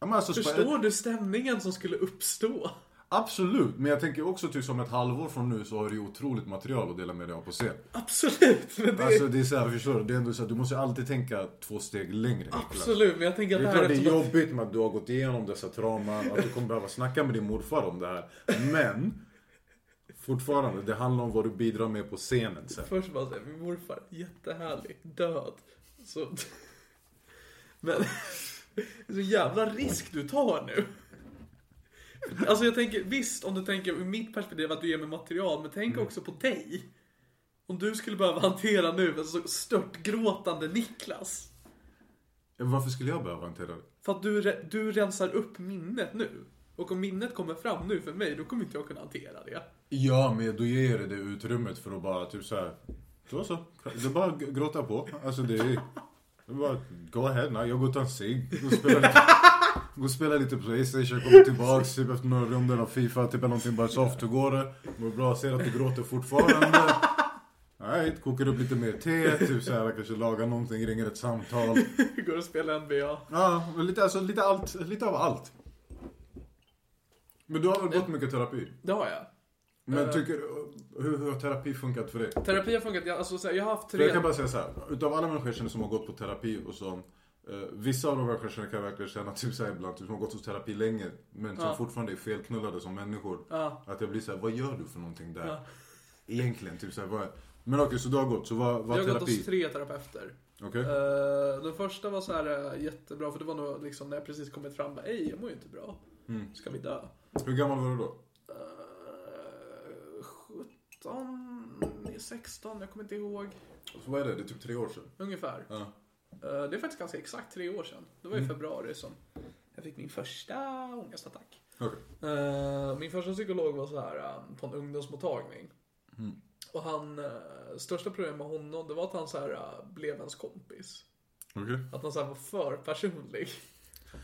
Ja, men alltså,
Förstår du stämningen som skulle uppstå?
Absolut, men jag tänker också typ som ett halvår från nu så har du ju otroligt material att dela med dig av på scen.
Absolut! Men det
Alltså det är såhär, förstår du? Det är ändå såhär, du måste alltid tänka två steg längre. Niklas.
Absolut, men jag tänker att
Det
det
är
här
klart
är
det
ett
är
sånt-
jobbigt med att du har gått igenom dessa trauman, att du kommer behöva snacka med din morfar om det här. Men, fortfarande, det handlar om vad du bidrar med på scenen sen.
Först bara säga, min morfar, jättehärlig, död. Så... Men, så jävla risk du tar nu. Alltså jag tänker, visst om du tänker ur mitt perspektiv att du ger mig material, men tänk
Mm.
också på dig. Om du skulle behöva hantera nu en så störtgråtande Niklas.
Varför skulle jag behöva hantera det?
För att du, re- du rensar upp minnet nu. Och om minnet kommer fram nu för mig, då kommer inte jag kunna hantera det.
Ja, men då ger det det utrymmet för att bara typ så här. Så så. Det är bara att gråta på. Alltså det är... Det är bara go ahead, nej, jag går och tar en cigg. Gå och spela lite- gå och spela lite Playstation, kommer tillbaks typ efter några runder av Fifa, typ eller någonting bara soft, hur går det? Mår du bra? Ser att du gråter fortfarande? Nej, kokar upp lite mer te, typ så här, kanske lagar någonting, ringer ett samtal.
Går och spelar NBA.
Ja, och lite, alltså, lite, allt, lite av allt. Men du har väl gått mycket terapi?
Det har jag. Eh.
Men tycker du, hur, hur har terapi funkat för dig?
Terapi har funkat, jag, alltså, så här, jag har haft
För jag
tre...
kan bara säga så här. utav alla människor jag känner som har gått på terapi och sånt. Eh, vissa av de människor jag känner kan jag verkligen känna typ så här ibland, typ som har gått hos terapi länge. Men som fortfarande är felknullade som människor. Att jag blir så här, vad gör du för någonting där? Egentligen, typ så här, vad... Men okej, så du har gått, så vad, vad
Jag har gått
terapi?
hos tre terapeuter.
Okej?
Eh, den första var så här eh, jättebra, för det var nog liksom när jag precis kommit fram, bara, ej jag mår ju inte bra.
Mm.
Ska vi dö?
Hur gammal var du då?
Eh, 17, 16, jag kommer inte ihåg.
Så vad är det? Det är typ tre år sedan.
Ungefär.
Ja. Mm.
Eh, det är faktiskt ganska exakt tre år sedan. Det var i februari som jag fick min första ångestattack.
Okej.
Eh, min första psykolog var så här eh, på en ungdomsmottagning.
Mm.
Och han, eh, största problemet med honom, det var att han så här eh, blev ens kompis.
Okej.
Att han så här var för personlig.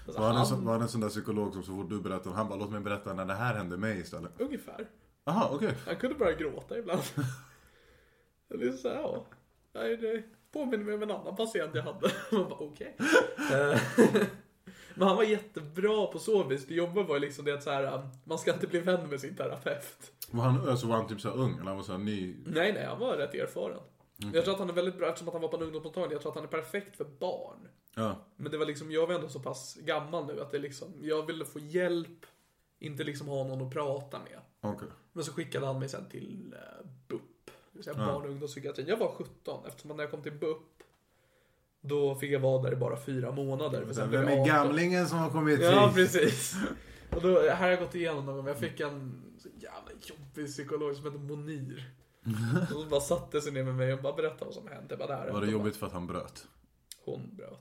Alltså,
Var han, en
han-
sån- var han en sån där psykolog som så fort du berättar, han bara låt mig berätta när det här hände mig istället.
Ungefär.
Aha, okej.
Han kunde börja gråta ibland. Det är så här, ja. nej, det påminner mig om en annan patient jag hade. Man bara, okej. Eh, Men han var jättebra på så vis. Det jobbiga var ju liksom det att så här, man ska inte bli vän med sin terapeut.
Var han, alltså var han typ så här ung? Eller han var så här ny?
Nej, nej, han var rätt erfaren. Jag tror att han är väldigt bra, eftersom att han var på en ungdomsmottagning, jag tror att han är perfekt för barn.
Ja.
Men det var liksom, jag var ändå så pass gammal nu att det liksom, jag ville få hjälp, inte liksom ha någon att prata med.
Okej.
Men så skickade han mig sen till eh, BUP, det vill säga barn och ungdomspsykiatrin. Jag var 17 eftersom att när jag kom till BUP då fick jag vara där i bara fyra månader. för sen blev
Vem
jag
är
18.
gamlingen som har kommit hit?
Ja, precis. Och då, här har jag gått igenom någon gång. Jag fick en så jävla jobbig psykolog som hette Monir. Och hon bara satte sig ner med mig och bara berättade vad som hände. Jag Bara, det här
Var det
hände."
jobbigt för att han bröt?
Hon bröt.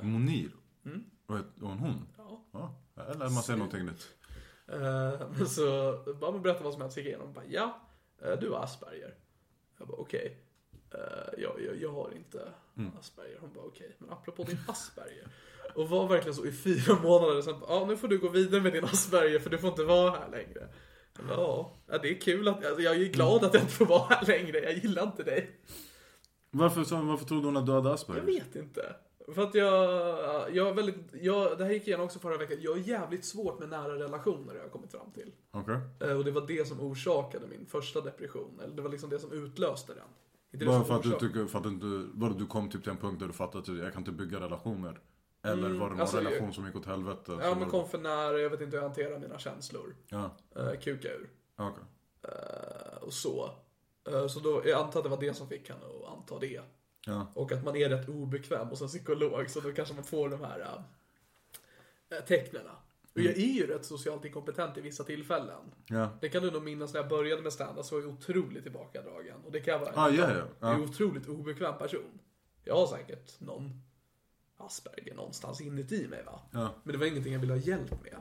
Monir? Var det- var hon hon?
Mm. Ja.
Ja. Här lär man sig någonting nytt.
Eh, Men så bara man berättade vad som hände sig igenom. Bara, ja, eh, du har Asperger. Jag bara okej. Eh, Jag, jag, jag har inte Asperger. Hon bara okej, men apropå din Asperger. Och var verkligen så i fyra månader. Sen bara, ja nu får du gå vidare med din Asperger för du får inte vara här längre. Jag bara, Ja, ja, det är kul att, alltså, jag är glad att jag inte får vara här längre. Jag gillar inte dig.
Varför, sa- varför trodde hon att du hade Asperger?
Jag vet inte. För att jag, jag är väldigt, jag, det här gick igenom också förra veckan. Jag är jävligt svårt med nära relationer har jag kommit fram till.
Okej.
Eh, Och det var det som orsakade min första depression. Eller det var liksom det som utlöste den. Inte det
Bara
som
för att du,
orsakade-
tycker, för att du, inte- bara du kom typ till en punkt där du fattade att jag kan inte bygga relationer. Eller var det någon
alltså,
relation
ju-
som gick åt helvete?
Ja
så
men
var-
kom för nära, jag vet inte hur jag hanterar mina känslor.
Ja,
Eh, kuka ur.
okej.
Eh, och så. Eh, så då, jag antar att det var det som fick henne att anta det.
Ja.
Och att man är rätt obekväm hos en psykolog så då kanske man får de här äh, tecknen. Och jag är ju rätt socialt inkompetent i vissa tillfällen.
Ja.
Det kan du nog minnas när jag började med stand-up så var jag otroligt tillbakadragen. Och det kan jag vara.
Ah,
Jag
ja, ja,
är en
ja.
otroligt obekväm person. Jag har säkert någon Asperger någonstans inuti mig va.
Ja.
Men det var ingenting jag ville ha hjälp med.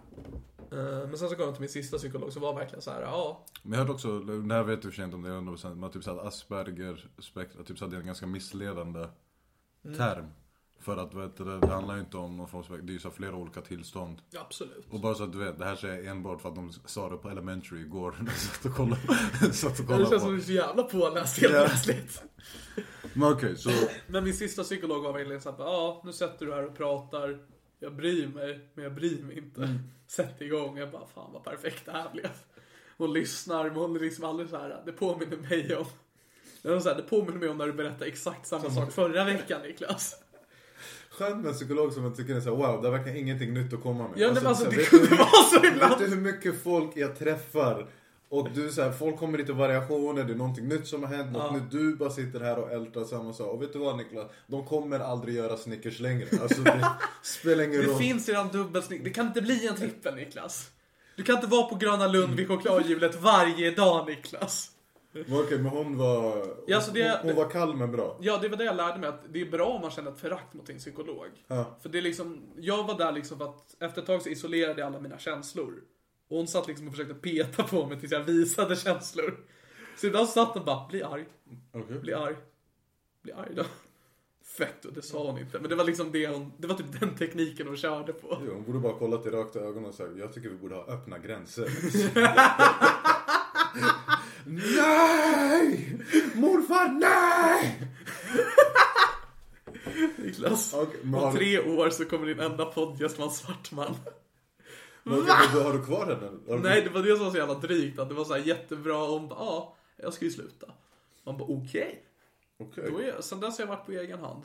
Eh, Men sen så kom jag till min sista psykolog som var verkligen så här, ja,
Men jag hörde också, det här vet jag i och för sig inte om det är 100% men typ såhär Asperger spektra, typ såhär det är en ganska missledande
Mm.
term. För att vet du, det handlar ju inte om någon form av, det är ju så här flera olika tillstånd.
absolut.
Och bara så att du vet, det här säger jag enbart för att de sa det på elementary igår när jag satt och kollade, satt och
Det
kollade
känns
på.
som du är så jävla påläst helt
Ja.
plötsligt.
Men okej, så,
Men min sista psykolog var verkligen såhär, ja nu sätter du här och pratar. Jag bryr mig, men jag bryr mig inte.
Mm.
Sätt igång. Jag bara, fan vad perfekt det här blev. Hon lyssnar, men hon är liksom aldrig så här. det påminner mig om. Det, var så här, det påminner mig om när du berättade exakt
Mm.
samma sak förra veckan Niklas.
skönt med en psykolog som jag tycker är såhär wow, det verkar ingenting nytt att komma med.
Ja, nej, men alltså,
så här,
det
vet du hur
kunde
mycket-
vara så ibland.
Vet du hur mycket folk jag träffar? Och du så här, folk kommer lite variationer, det är någonting nytt som har hänt, något nytt, du bara sitter här och ältar samma sak. Och vet du vad Niklas? De kommer aldrig göra Snickers längre. Alltså det spelar ingen
Det
roll.
finns redan dubbelsnitt. Det kan inte bli en trippel Niklas. Du kan inte vara på Gröna Lund
Mm.
vid chokladhjulet varje dag Niklas.
Men Okej, men hon var...
Ja, alltså det-
hon, hon var kall men bra.
Ja, det var det jag lärde mig att det är bra om man känner ett förakt mot sin psykolog.
Ja.
För det är liksom, jag var där liksom för att efter ett tag så isolerade jag alla mina känslor. Och hon satt liksom och försökte peta på mig tills jag visade känslor. Så ibland så satt hon bara, bli arg,
Okej.
bli arg, bli arg då. Fett, och det sa hon inte. Men det var liksom det hon, det var typ den tekniken hon körde på.
Jo, Hon borde bara kollat i rakt i ögonen och sagt jag tycker vi borde ha öppna gränser. nej! Morfar, nej!
Niklas.
Okej, men har
Om
du-
tre år så kommer din enda poddgäst vara en svart man.
Men okej, men då har du kvar den? eller? Har du-
Nej, det var det som var så jävla drygt. Att det var så här jättebra och hon bara, ja, jag ska ju sluta. Man bara, okej.
Okej.
Då är jag- Sen dess har jag varit på egen hand.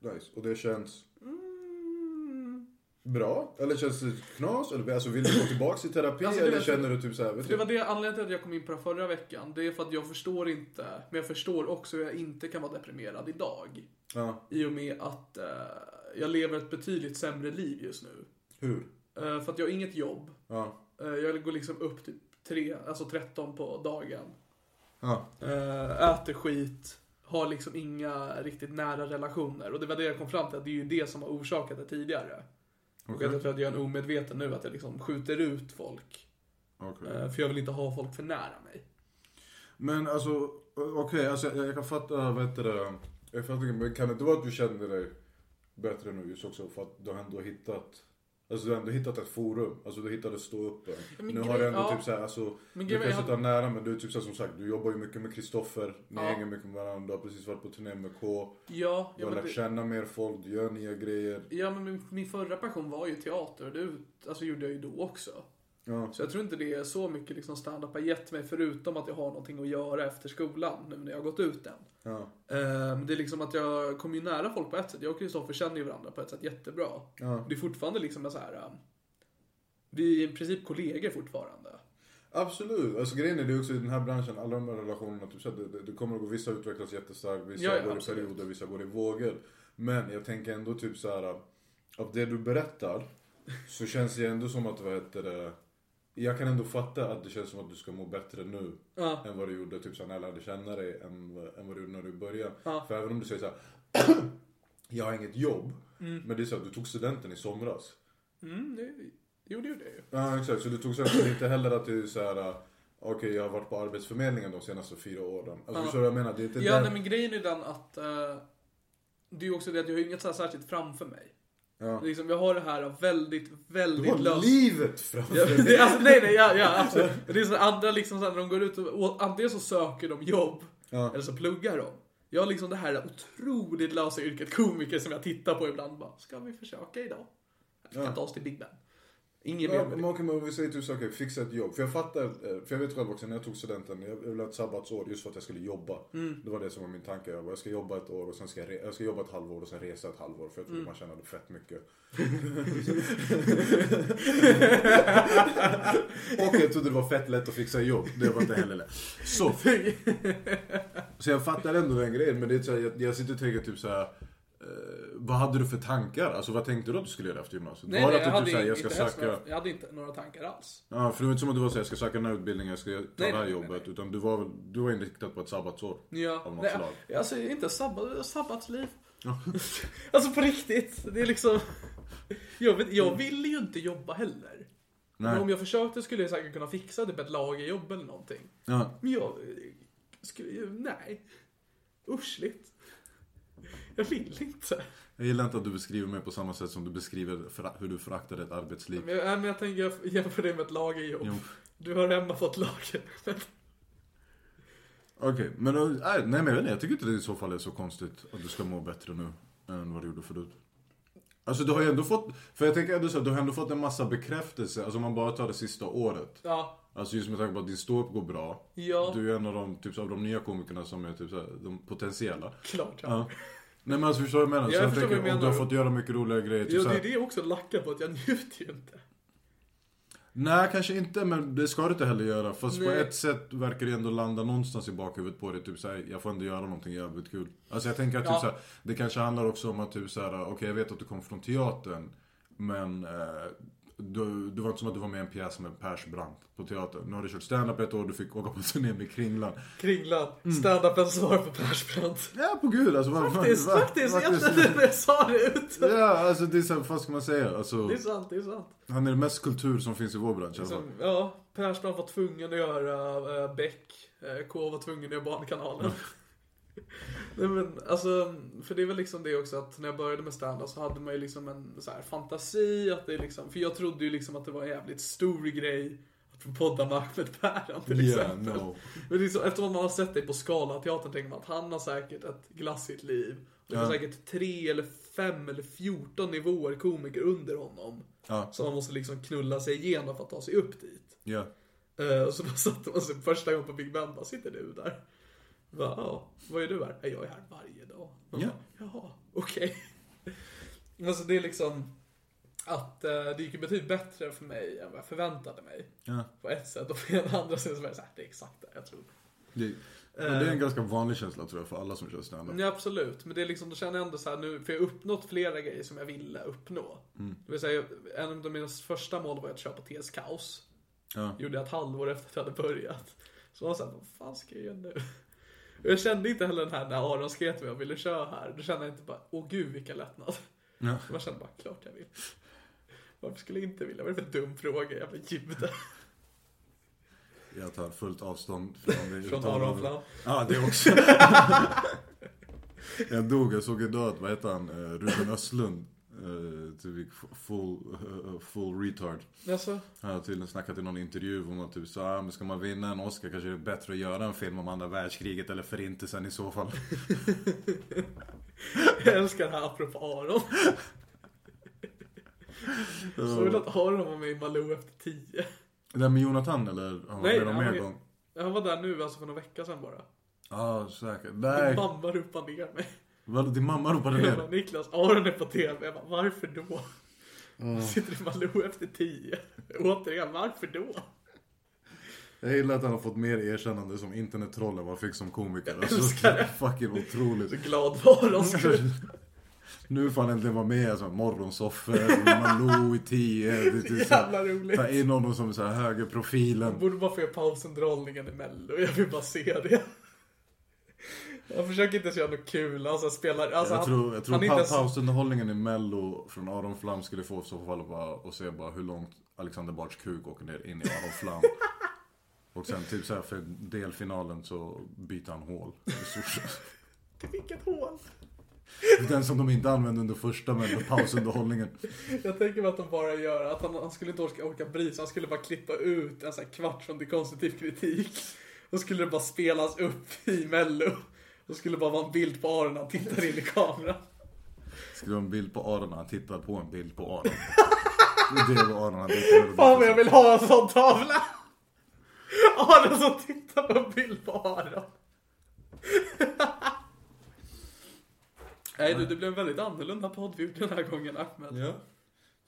Nice. Och det känns
Mm.
bra? Eller känns det knas? Eller, alltså, vill du gå tillbaka i terapi?
Alltså, det
eller
vet-
känner du typ såhär, vet
Det
du?
var det anledningen till att jag kom in på det förra veckan. Det är för att jag förstår inte, men jag förstår också hur jag inte kan vara deprimerad idag.
Ja,
I och med att eh, jag lever ett betydligt sämre liv just nu.
hur?
Eh, för att jag har inget jobb.
Ja.
Eh, jag går liksom upp typ tre, alltså 13 på dagen.
Ja.
Eh, äter skit, har liksom inga riktigt nära relationer. Och det var det jag kom fram till, att det är ju det som har orsakat det tidigare. Och
Okej.
jag tror att jag är en omedveten nu, att jag liksom skjuter ut folk.
Okej.
Eh, för jag vill inte ha folk för nära mig.
Men alltså, okej, alltså, jag jag kan fatta, vad heter det? Jag fattar, inte, men kan det inte vara att du känner dig bättre nu just också för att du har ändå hittat Alltså du har ändå hittat ett forum, alltså du hittade stå upp
Men
Nu
grej-
har du ändå
ja.
typ såhär, alltså,
Men
du
grej-
kanske
jag-
inte har nära men du är typ såhär, som sagt, du jobbar ju mycket med Kristoffer, ni
Ja.
hänger mycket med varandra, du har precis varit på turné med K,
Ja,
du
ja,
har
men,
lärt
det,
känna mer folk, du gör nya grejer.
ja men min, min förra passion var ju teater och det alltså, gjorde jag ju då också.
Ja.
Så jag tror inte det är så mycket liksom stand-up har gett mig förutom att jag har någonting att göra efter skolan nu när jag har gått ut den.
Ja.
Ehm, Det är liksom att jag kommer ju nära folk på ett sätt. Jag och Kristoffer känner ju varandra på ett sätt jättebra.
Ja.
Det är fortfarande liksom en så här. ehm, Vi är i princip kollegor fortfarande.
Absolut, alltså grejen är det också i den här branschen, alla de här relationerna, typ så här, det, det, det kommer att gå, vissa utvecklas jättestarkt, vissa
Ja, ja,
går
absolut.
i perioder, vissa går i vågor. Men jag tänker ändå typ så här, av det du berättar så känns det ändå som att, vad heter det, jag kan ändå fatta att det känns som att du ska må bättre nu
Ja.
än vad du gjorde typ så här, när jag lärde känna dig, än, vad- än vad du gjorde när du började.
Ja.
För även om du säger så här, jag har inget jobb, men det är så att du tog studenten i somras.
Mm, det, jo, det gjorde jag ju.
Ja exakt, så du tog sen så det är inte heller att du är såhär Okej jag har varit på arbetsförmedlingen de senaste fyra åren. Alltså förstår du vad jag menar? Det är inte
Ja,
där...
nej, men grejen är den att eh, det är ju också det att jag har ju inget så här särskilt framför mig.
Ja.
Liksom, jag har det här väldigt,
Du har
väldigt löst.
livet framför
Ja,
dig.
det, är- alltså, nej, nej, ja, ja, absolut. Det är så här andra liksom, så här, när de går ut och, och antingen så söker de jobb
Ja.
eller så pluggar de. Jag har liksom det här otroligt lösa yrket komiker som jag tittar på ibland. Bara, ska vi försöka idag? Vi kan
Ja.
ta oss till Big Ben. Inget
Ja,
mer
men
med det.
okej, men om vi säger typ så, okej, fixa ett jobb. För jag fattar, eh, för jag vet själv också när jag tog studenten, jag jag ville ha ett sabbatsår just för att jag skulle jobba.
Mm.
Det var det som var min tanke. Jag, bara, jag ska jobba ett år och sen ska jag, re- jag ska jobba ett halvår och sen resa ett halvår för jag
Mm.
trodde man tjänade fett mycket. och jag trodde det var fett lätt att fixa jobb. Det var inte heller lätt. Så, så jag fattar ändå den grejen men det är så här, jag, jag sitter och tänker typ så här. eh, vad hade du för tankar? Alltså vad tänkte du att du skulle göra efter gymnasiet?
Nej,
Var det
nej,
att
jag,
du
hade
typ så
inte
här, jag ska
ens
söka...
några, jag hade inte några tankar alls.
Ja, för det var inte som att du var såhär, jag ska söka den här utbildningen, jag ska ta
nej,
det här
nej,
jobbet.
nej.
Utan du var, väl- du var inriktad på ett sabbatsår.
Ja,
Av något slag.
nej, alltså inte sabbat, sabbatsliv. alltså på riktigt, det är liksom... Jag, vet, jag ville ju inte jobba heller. Men
Nej.
om jag försökte skulle jag säkert kunna fixa typ ett lagerjobb eller någonting.
Ja.
Men jag eh, skulle ju, nej. Uschligt. Jag vill inte.
Jag gillar inte att du beskriver mig på samma sätt som du beskriver fra- hur du föraktar ett arbetsliv.
Men jag, nej, men jag tänker jag jämför det med ett lagerjobb.
Jo.
Du har hemma fått lager.
Okej, men då- nej nej, men jag vet inte, jag tycker inte det i så fall är så konstigt att du ska må bättre nu än vad du gjorde förut. Alltså du har ju ändå fått, för jag tänker ändå så här, du har ändå fått en massa bekräftelse, alltså om man bara tar det sista året.
ja,
Alltså just med tanke på att din ståupp går bra.
Ja.
Du är en av de, typ, av de nya komikerna som är typ så här, de potentiella.
klart.
Ja. Nej men alltså förstår du vad jag menar?
Ja, jag
så jag
förstår vad du
tänker, och du har
menar.
fått göra mycket roliga grejer. Typ
Jo,
så
det
här,
är det jag också lackar på, att jag njuter ju inte.
Nej kanske inte men det ska du inte heller göra. Fast på
Nej.
ett sätt verkar det ändå landa någonstans i bakhuvudet på dig. Typ såhär, jag får ändå göra någonting jävligt kul. Alltså jag tänker att typ
Ja.
såhär, det kanske handlar också om att typ såhär, okej jag vet att du kom från teatern. Men eh, du, det var inte som att du var med i en pjäs med Persbrandt på teatern. Nu har du kört standup ett år du fick åka på turné med Kringlan.
Kringlan,
Mm.
standupens svar på Persbrandt.
Ja på gud alltså. vad-
Faktiskt,
vad-
faktiskt,
vad-
jag, jag sa det ut.
Ja alltså det är såhär, vad ska man säga? Alltså,
Det är sant, det är sant.
Han är det mest kultur som finns i vår bransch i alla fall.
Som, ja, Persbrandt var tvungen att göra äh, Beck, eh, K var tvungen att göra Barnkanalen. Nej men alltså, för det är väl liksom det också att när jag började med stand så hade man ju liksom en så här fantasi att det liksom, för jag trodde ju liksom att det var en jävligt stor grej att få podda med Ahmed Päran till
Yeah,
exempel.
no.
Men liksom, eftersom man har sett dig på Scalateatern tänker man att han har säkert ett glassigt liv. Det är
Ja.
säkert tre eller fem eller fjorton nivåer komiker under honom.
Ja.
Så man måste liksom knulla sig igenom för att ta sig upp dit.
Ja.
Eh, och så bara satte man sig första gången på Big Ben bara, sitter du där? Bara, ja, vad är du här? "Nej, Jag är här varje dag. Man
Ja.
bara, Jaha, okej. Men så det är liksom att eh, det gick ju betydligt bättre för mig än vad jag förväntade mig.
Ja.
På ett sätt och på det andra sätt så var det såhär, det är exakt det jag trodde.
Det, och det är en ganska vanlig känsla tror jag för alla som kör standup.
Eh. Ja, absolut. Men det är liksom, då känner jag ändå så här nu, för jag har uppnått flera grejer som jag ville uppnå.
Mm.
Det vill säga, en av mina första mål var att köpa TS Kaos.
Ja.
Gjorde jag ett halvår efter att jag hade börjat. Så jag var såhär, vad fan ska jag göra nu? Och Jag kände inte heller den här när Aron skrev till mig och ville köra här. Då kände jag inte bara, åh gud vilken lättnad.
Ja.
Man kände bara, klart jag vill. Varför skulle jag inte vilja? Vad är det för dum fråga? Jävla jude.
Jag tar fullt avstånd från det
Från Aron Flam.
Ja, det också. jag dog, jag såg idag att, vad heter han, eh, Ruben Östlund eh, typ gick f- full, eh, full retard.
Alltså,
Han har tydligen snackat i någon intervju om att typ så här, men ska man vinna en Oscar kanske det är bättre att göra en film om andra världskriget eller förintelsen i så fall.
jag älskar det här apropå Aron. Så vill att Aron var med i Malou efter tio.
Nej men Jonathan eller? Han var
Nej,
med någon
han
mer
var-
gång.
Han var där nu, alltså för några vecka sedan bara.
Ja säkert.
Min
Nej.
mamma ropade ner mig.
Vadå din mamma ropade
Jag bara,
ner?
Niklas, Aron är på TV. Jag bara, varför då?
Mm.
Han Sitter i Malou efter tio. Återigen, varför då?
Jag gillar att han har fått mer erkännande som internettroll än vad han fick som komiker. Alltså,
älskar det.
fucking otroligt.
Glad var de skulle.
Nu får han äntligen vara med i alltså, morgonsoffor, Malou i tio. Det är typ så här,
Jävla roligt.
Ta in honom som så här högerprofilen.
Borde bara få göra pausunderhållningen i Mello. Jag vill bara se det. Han försöker inte ens göra något kul. Alltså, han spelar, alltså,
Jag tror, jag tror
han, han är
pa-
inte ens,
pausunderhållningen i mello från Aron Flam skulle få i så fall bara och se bara hur långt Alexander Bards kuk åker ner in i Aron Flam. och sen typ så här för delfinalen så byter han hål. i stort sett.
Vilket hål.
Den som de inte använde under första men under pausunderhållningen.
Jag tänker mig att de bara gör att han, han skulle inte orka, orka bry sig. Han skulle bara klippa ut en sån här kvart från till konstruktiv kritik. Då skulle det bara spelas upp i Mello. Då skulle det bara vara en bild på Aron när han tittar in i kameran.
Skrev en bild på Aron när han tittar på en bild på Aron. Och det var Aron han tittade på.
Fan vad jag vill ha en sån tavla! Aron som tittar på en bild på Aron. Nej du, det blev en väldigt annorlunda podd vi gjorde den här gången Ahmed.
Ja,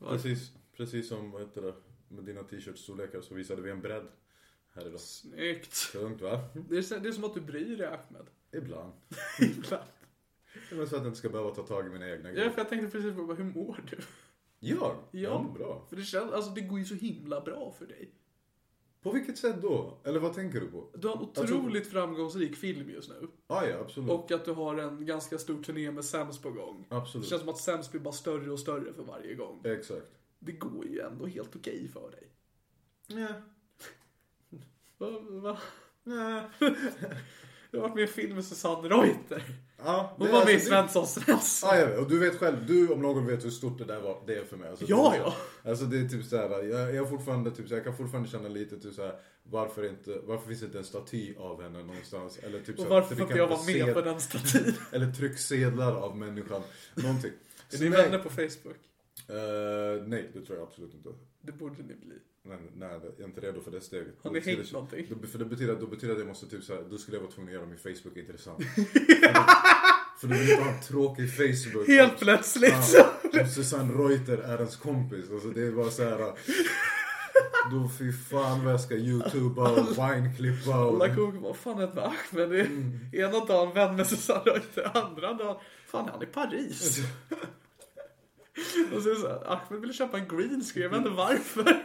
precis, precis som vad heter det, med dina t-shirts-storlekar så visade vi en bredd här idag.
Snyggt.
Tungt va?
Det är, så- det är som att du bryr dig Ahmed.
Ibland.
Ibland.
Ja, Men så att jag inte ska behöva ta tag i mina egna
Ja, för jag tänkte precis på bara, hur mår du?
Jag?
Ja.
Jag mår bra.
För det känns, alltså det går ju så himla bra för dig.
På vilket sätt då? Eller vad tänker du på?
Du har en otroligt framgångsrik film just nu.
Ah, ja, absolut.
Och att du har en ganska stor turné med Sams på gång. Det
Absolut.
känns som att Sams blir bara större och större för varje gång.
Exakt.
Det går ju ändå helt okej för dig.
Ja.
Va, va? Du har varit med i en film med Susanne Reuter.
Ja,
Hon
det-
var med i
alltså,
Svensson
det-
Svensson.
Ah, jag vet. Och du vet själv, du om någon vet hur stort det där var, det är för mig. Alltså,
Ja,
det är,
ja.
Alltså det är typ så här, jag, jag, är fortfarande, typ, så här, jag kan fortfarande känna lite typ så här, varför, inte, varför finns det inte en staty av henne någonstans? Eller typ
Och
så här,
varför
vi
får
kan
inte jag vara
få se-
med på den statyn?
Eller trycksedlar av människan. Någonting.
Är
Så
ni
nej.
vänner på Facebook?
Eh, nej, det tror jag absolut inte.
Det borde ni bli.
Nej, nej, jag är inte redo för det steget.
Har ni
Det betyder
hängt
så-
någonting?
Då, för det betyder, då betyder det att jag måste typ så här, då skulle jag vara tvungen att göra min Facebook intressant. För då- för du vill inte ha en tråkig Facebook.
Helt plötsligt så...
Ja, om Alltså, Susanne Reuter är ens kompis. Alltså det är bara så här. Då fy fan vad jag ska youtuba och wineklippa och...
Alla kommer vad fan är det med Ahmed? Det är Ena dagen vän med Susanne Reuter, andra dagen, fan är han i Paris? Och så är det så här, Ahmed ville köpa en green screen, jag vet inte varför.